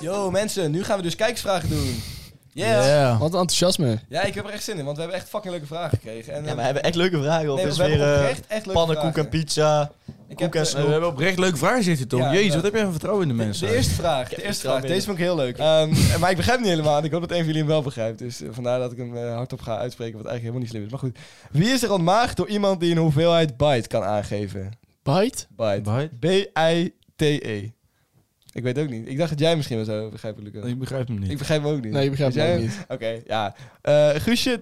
Yo mensen, nu gaan we dus kijksvragen doen. Yeah. Wat een enthousiasme. Ja, ik heb er echt zin in, want we hebben echt fucking leuke vragen gekregen. En, Ja, eh, we hebben echt leuke vragen op. nee, dus we hebben weer eh, oprecht echt leuke pannenkoek en vragen. pizza. Ik koek heb eh, en de- snoep. we hebben oprecht leuke vragen, zegt hij toch? Ja, Jezus, ja. wat heb jij van vertrouwen in de de, mensen? de eerste vraag, de heb eerste vertrouwen vraag. in. Deze vond ik heel leuk. Ehm, maar ik begrijp hem niet helemaal. en Ik hoop dat een van jullie hem wel begrijpt. Dus eh, vandaar dat ik hem eh, hardop ga uitspreken, wat eigenlijk helemaal niet slim is. Maar goed. Wie is er ontmaagd door iemand die een hoeveelheid byte kan aangeven? Bite? Byte. Bye. B-I-T-E. E. Ik weet ook niet. Ik dacht dat jij misschien wel zou begrijpen, Lucas. Ik begrijp hem niet. Ik begrijp hem ook niet. Nee, je begrijpt Weet mij jij- niet. Oké, ja. Eh, Guusje,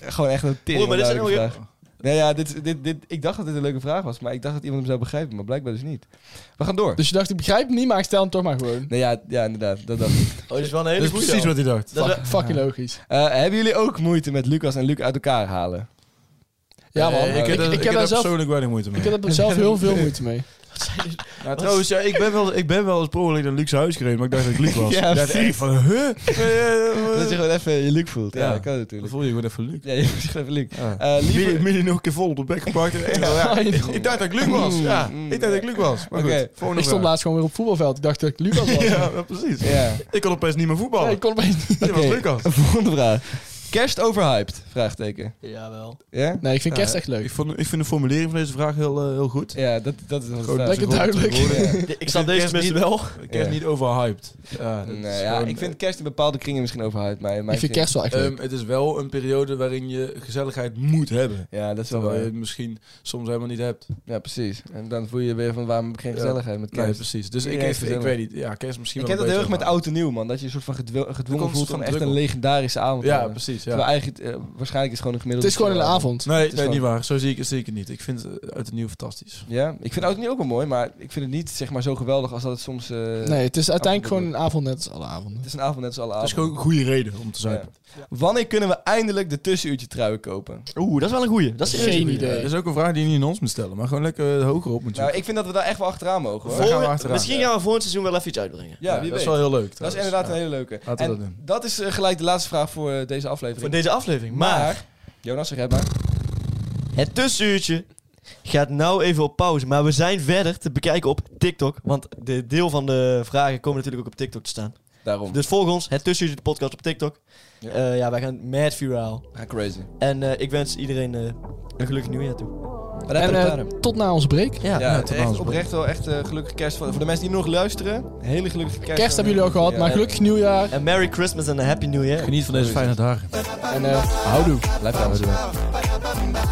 gewoon echt een tering Oeh, maar dit is een onduidelijke heel- vraag. Nee, ja, dit, is- dit, dit, ik dacht dat dit een leuke vraag was, maar ik dacht dat iemand hem zou begrijpen, maar blijkbaar dus niet. We gaan door. Dus je dacht, ik begrijp hem niet, maar ik stel hem toch maar gewoon. Nee, ja, ja, inderdaad, dat dacht ik. Oh, dat is wel een hele Dat is goeie precies al. wat hij dacht. Dat is wel- Fuck- fucking logisch. Eh, hebben jullie ook moeite met Lucas en Luc uit elkaar halen? Ja man, Eh, ik, heb, ik, daar- ik ik heb daar zelf, persoonlijk weinig moeite mee. ik heb er zelf heel veel moeite mee. Nou, trouwens, ja, ik ben wel, ik ben wel eens per ongeluk naar Lucs huis gereden, maar ik dacht dat ik Luc was. Ja, ik dacht precies. echt van, huh? Dat je gewoon even je Luc voelt. Ja, Ja. dat kan Dan natuurlijk. voel je gewoon even Luc. Ja, je moet gewoon even Luc. Ja. Eh, Midden, liever... midden nog een keer vol op de bek gepakt. En echt, ja, Ja, Ik, ik dacht dat ik Luc was. Ja, Mm. ik dacht dat ik Luc was. Maar Oké. goed, volgende Ik stond vraag. laatst gewoon weer op het voetbalveld. Ik dacht dat ik Lucas was. ja, ja, precies. Ja, Ik kon opeens niet meer voetballen. Nee, ik kon opeens niet. Dit was Oké. Lucas. volgende vraag. Kerst overhyped? Vraagteken. Jawel. Ja? Nee, ik vind Ja, kerst echt leuk. Ik, vond, ik vind de formulering van deze vraag heel, eh, heel goed. Ja, dat, dat is wat het Gewoon staat. Lekker duidelijk. Ja. Ik snap deze mensen wel. Ik heb Ja. niet overhyped. Ja, dat Nee, is ja, gewoon- eh, ik vind kerst in bepaalde kringen misschien overhyped, maar in mijn Ik vind kring- kerst wel echt leuk. Ehm, het is wel een periode waarin je gezelligheid moet hebben. Ja, dat is wel Terwijl je waar. het misschien soms helemaal niet hebt. Ja, precies. En dan voel je weer van waarom heb ik geen Ja. gezelligheid met Nee, kerst. precies. Dus ik, Iedereen is ik, gezellig. weet niet. Ja, kerst misschien ik wel heb dat heel erg een met beetje, oud en nieuw, man. Dat je een soort van gedwel- gedwongen komt voelt van van echt druk een op. legendarische avond. te Ja, hebben. precies. Ja. Terwijl eigenlijk, het, eh, waarschijnlijk is het gewoon een Het gemiddelde... is gewoon een avond. Nee, is nee wel- niet waar. Zo zie ik het zeker niet. Ik vind het eh, uit het nieuw fantastisch. Ja, ik vind oud en nieuw ook wel mooi, maar ik vind het niet zeg maar, zo geweldig als dat het soms... eh, Nee, het is uiteindelijk avond- gewoon een avond net als alle avonden. Het is een avond net als alle Dat is avonden. gewoon een goede reden om te zijn. Ah, Ja. Wanneer kunnen we eindelijk de tussenuurtje truien kopen? Oeh, dat is wel een goeie. Dat is serieus een Geen goeie. idee. Dat is ook een vraag die je niet aan ons moet stellen, maar gewoon lekker eh, hoger op moet Nou, zoeken. ik vind dat we daar echt wel achteraan mogen. Hoor. Daar gaan we Voor- achteraan. misschien gaan we volgend seizoen wel even iets uitbrengen. Ja, wie dat weet. is wel heel leuk. Dat is trouwens. inderdaad Ja. een hele leuke. Laten we en dat doen. dat is eh, gelijk de laatste vraag voor eh, deze aflevering. Voor deze aflevering. Maar Jonas, zeg jij maar. het tussenuurtje gaat nou even op pauze. Maar we zijn verder te bekijken op TikTok. Want de deel van de vragen komen natuurlijk ook op TikTok te staan. Daarom. Dus volg ons, het tussenuurtje de podcast op TikTok. Ja. Ja, ja wij gaan mad viraal. Ga Ah, crazy. En eh, ik wens iedereen eh, een gelukkig nieuwjaar toe. En eh, tot na onze break. Ja, Ja, nou, tot echt alles, oprecht wel echt eh, gelukkige kerst. Voor voor de mensen die nog luisteren, hele gelukkige kerst. Kerst hebben jullie al gehad, Ja. maar gelukkig nieuwjaar. En Merry Christmas en een Happy New Year. Geniet van deze fijne dagen. En eh houdoe. Blijf aan doen.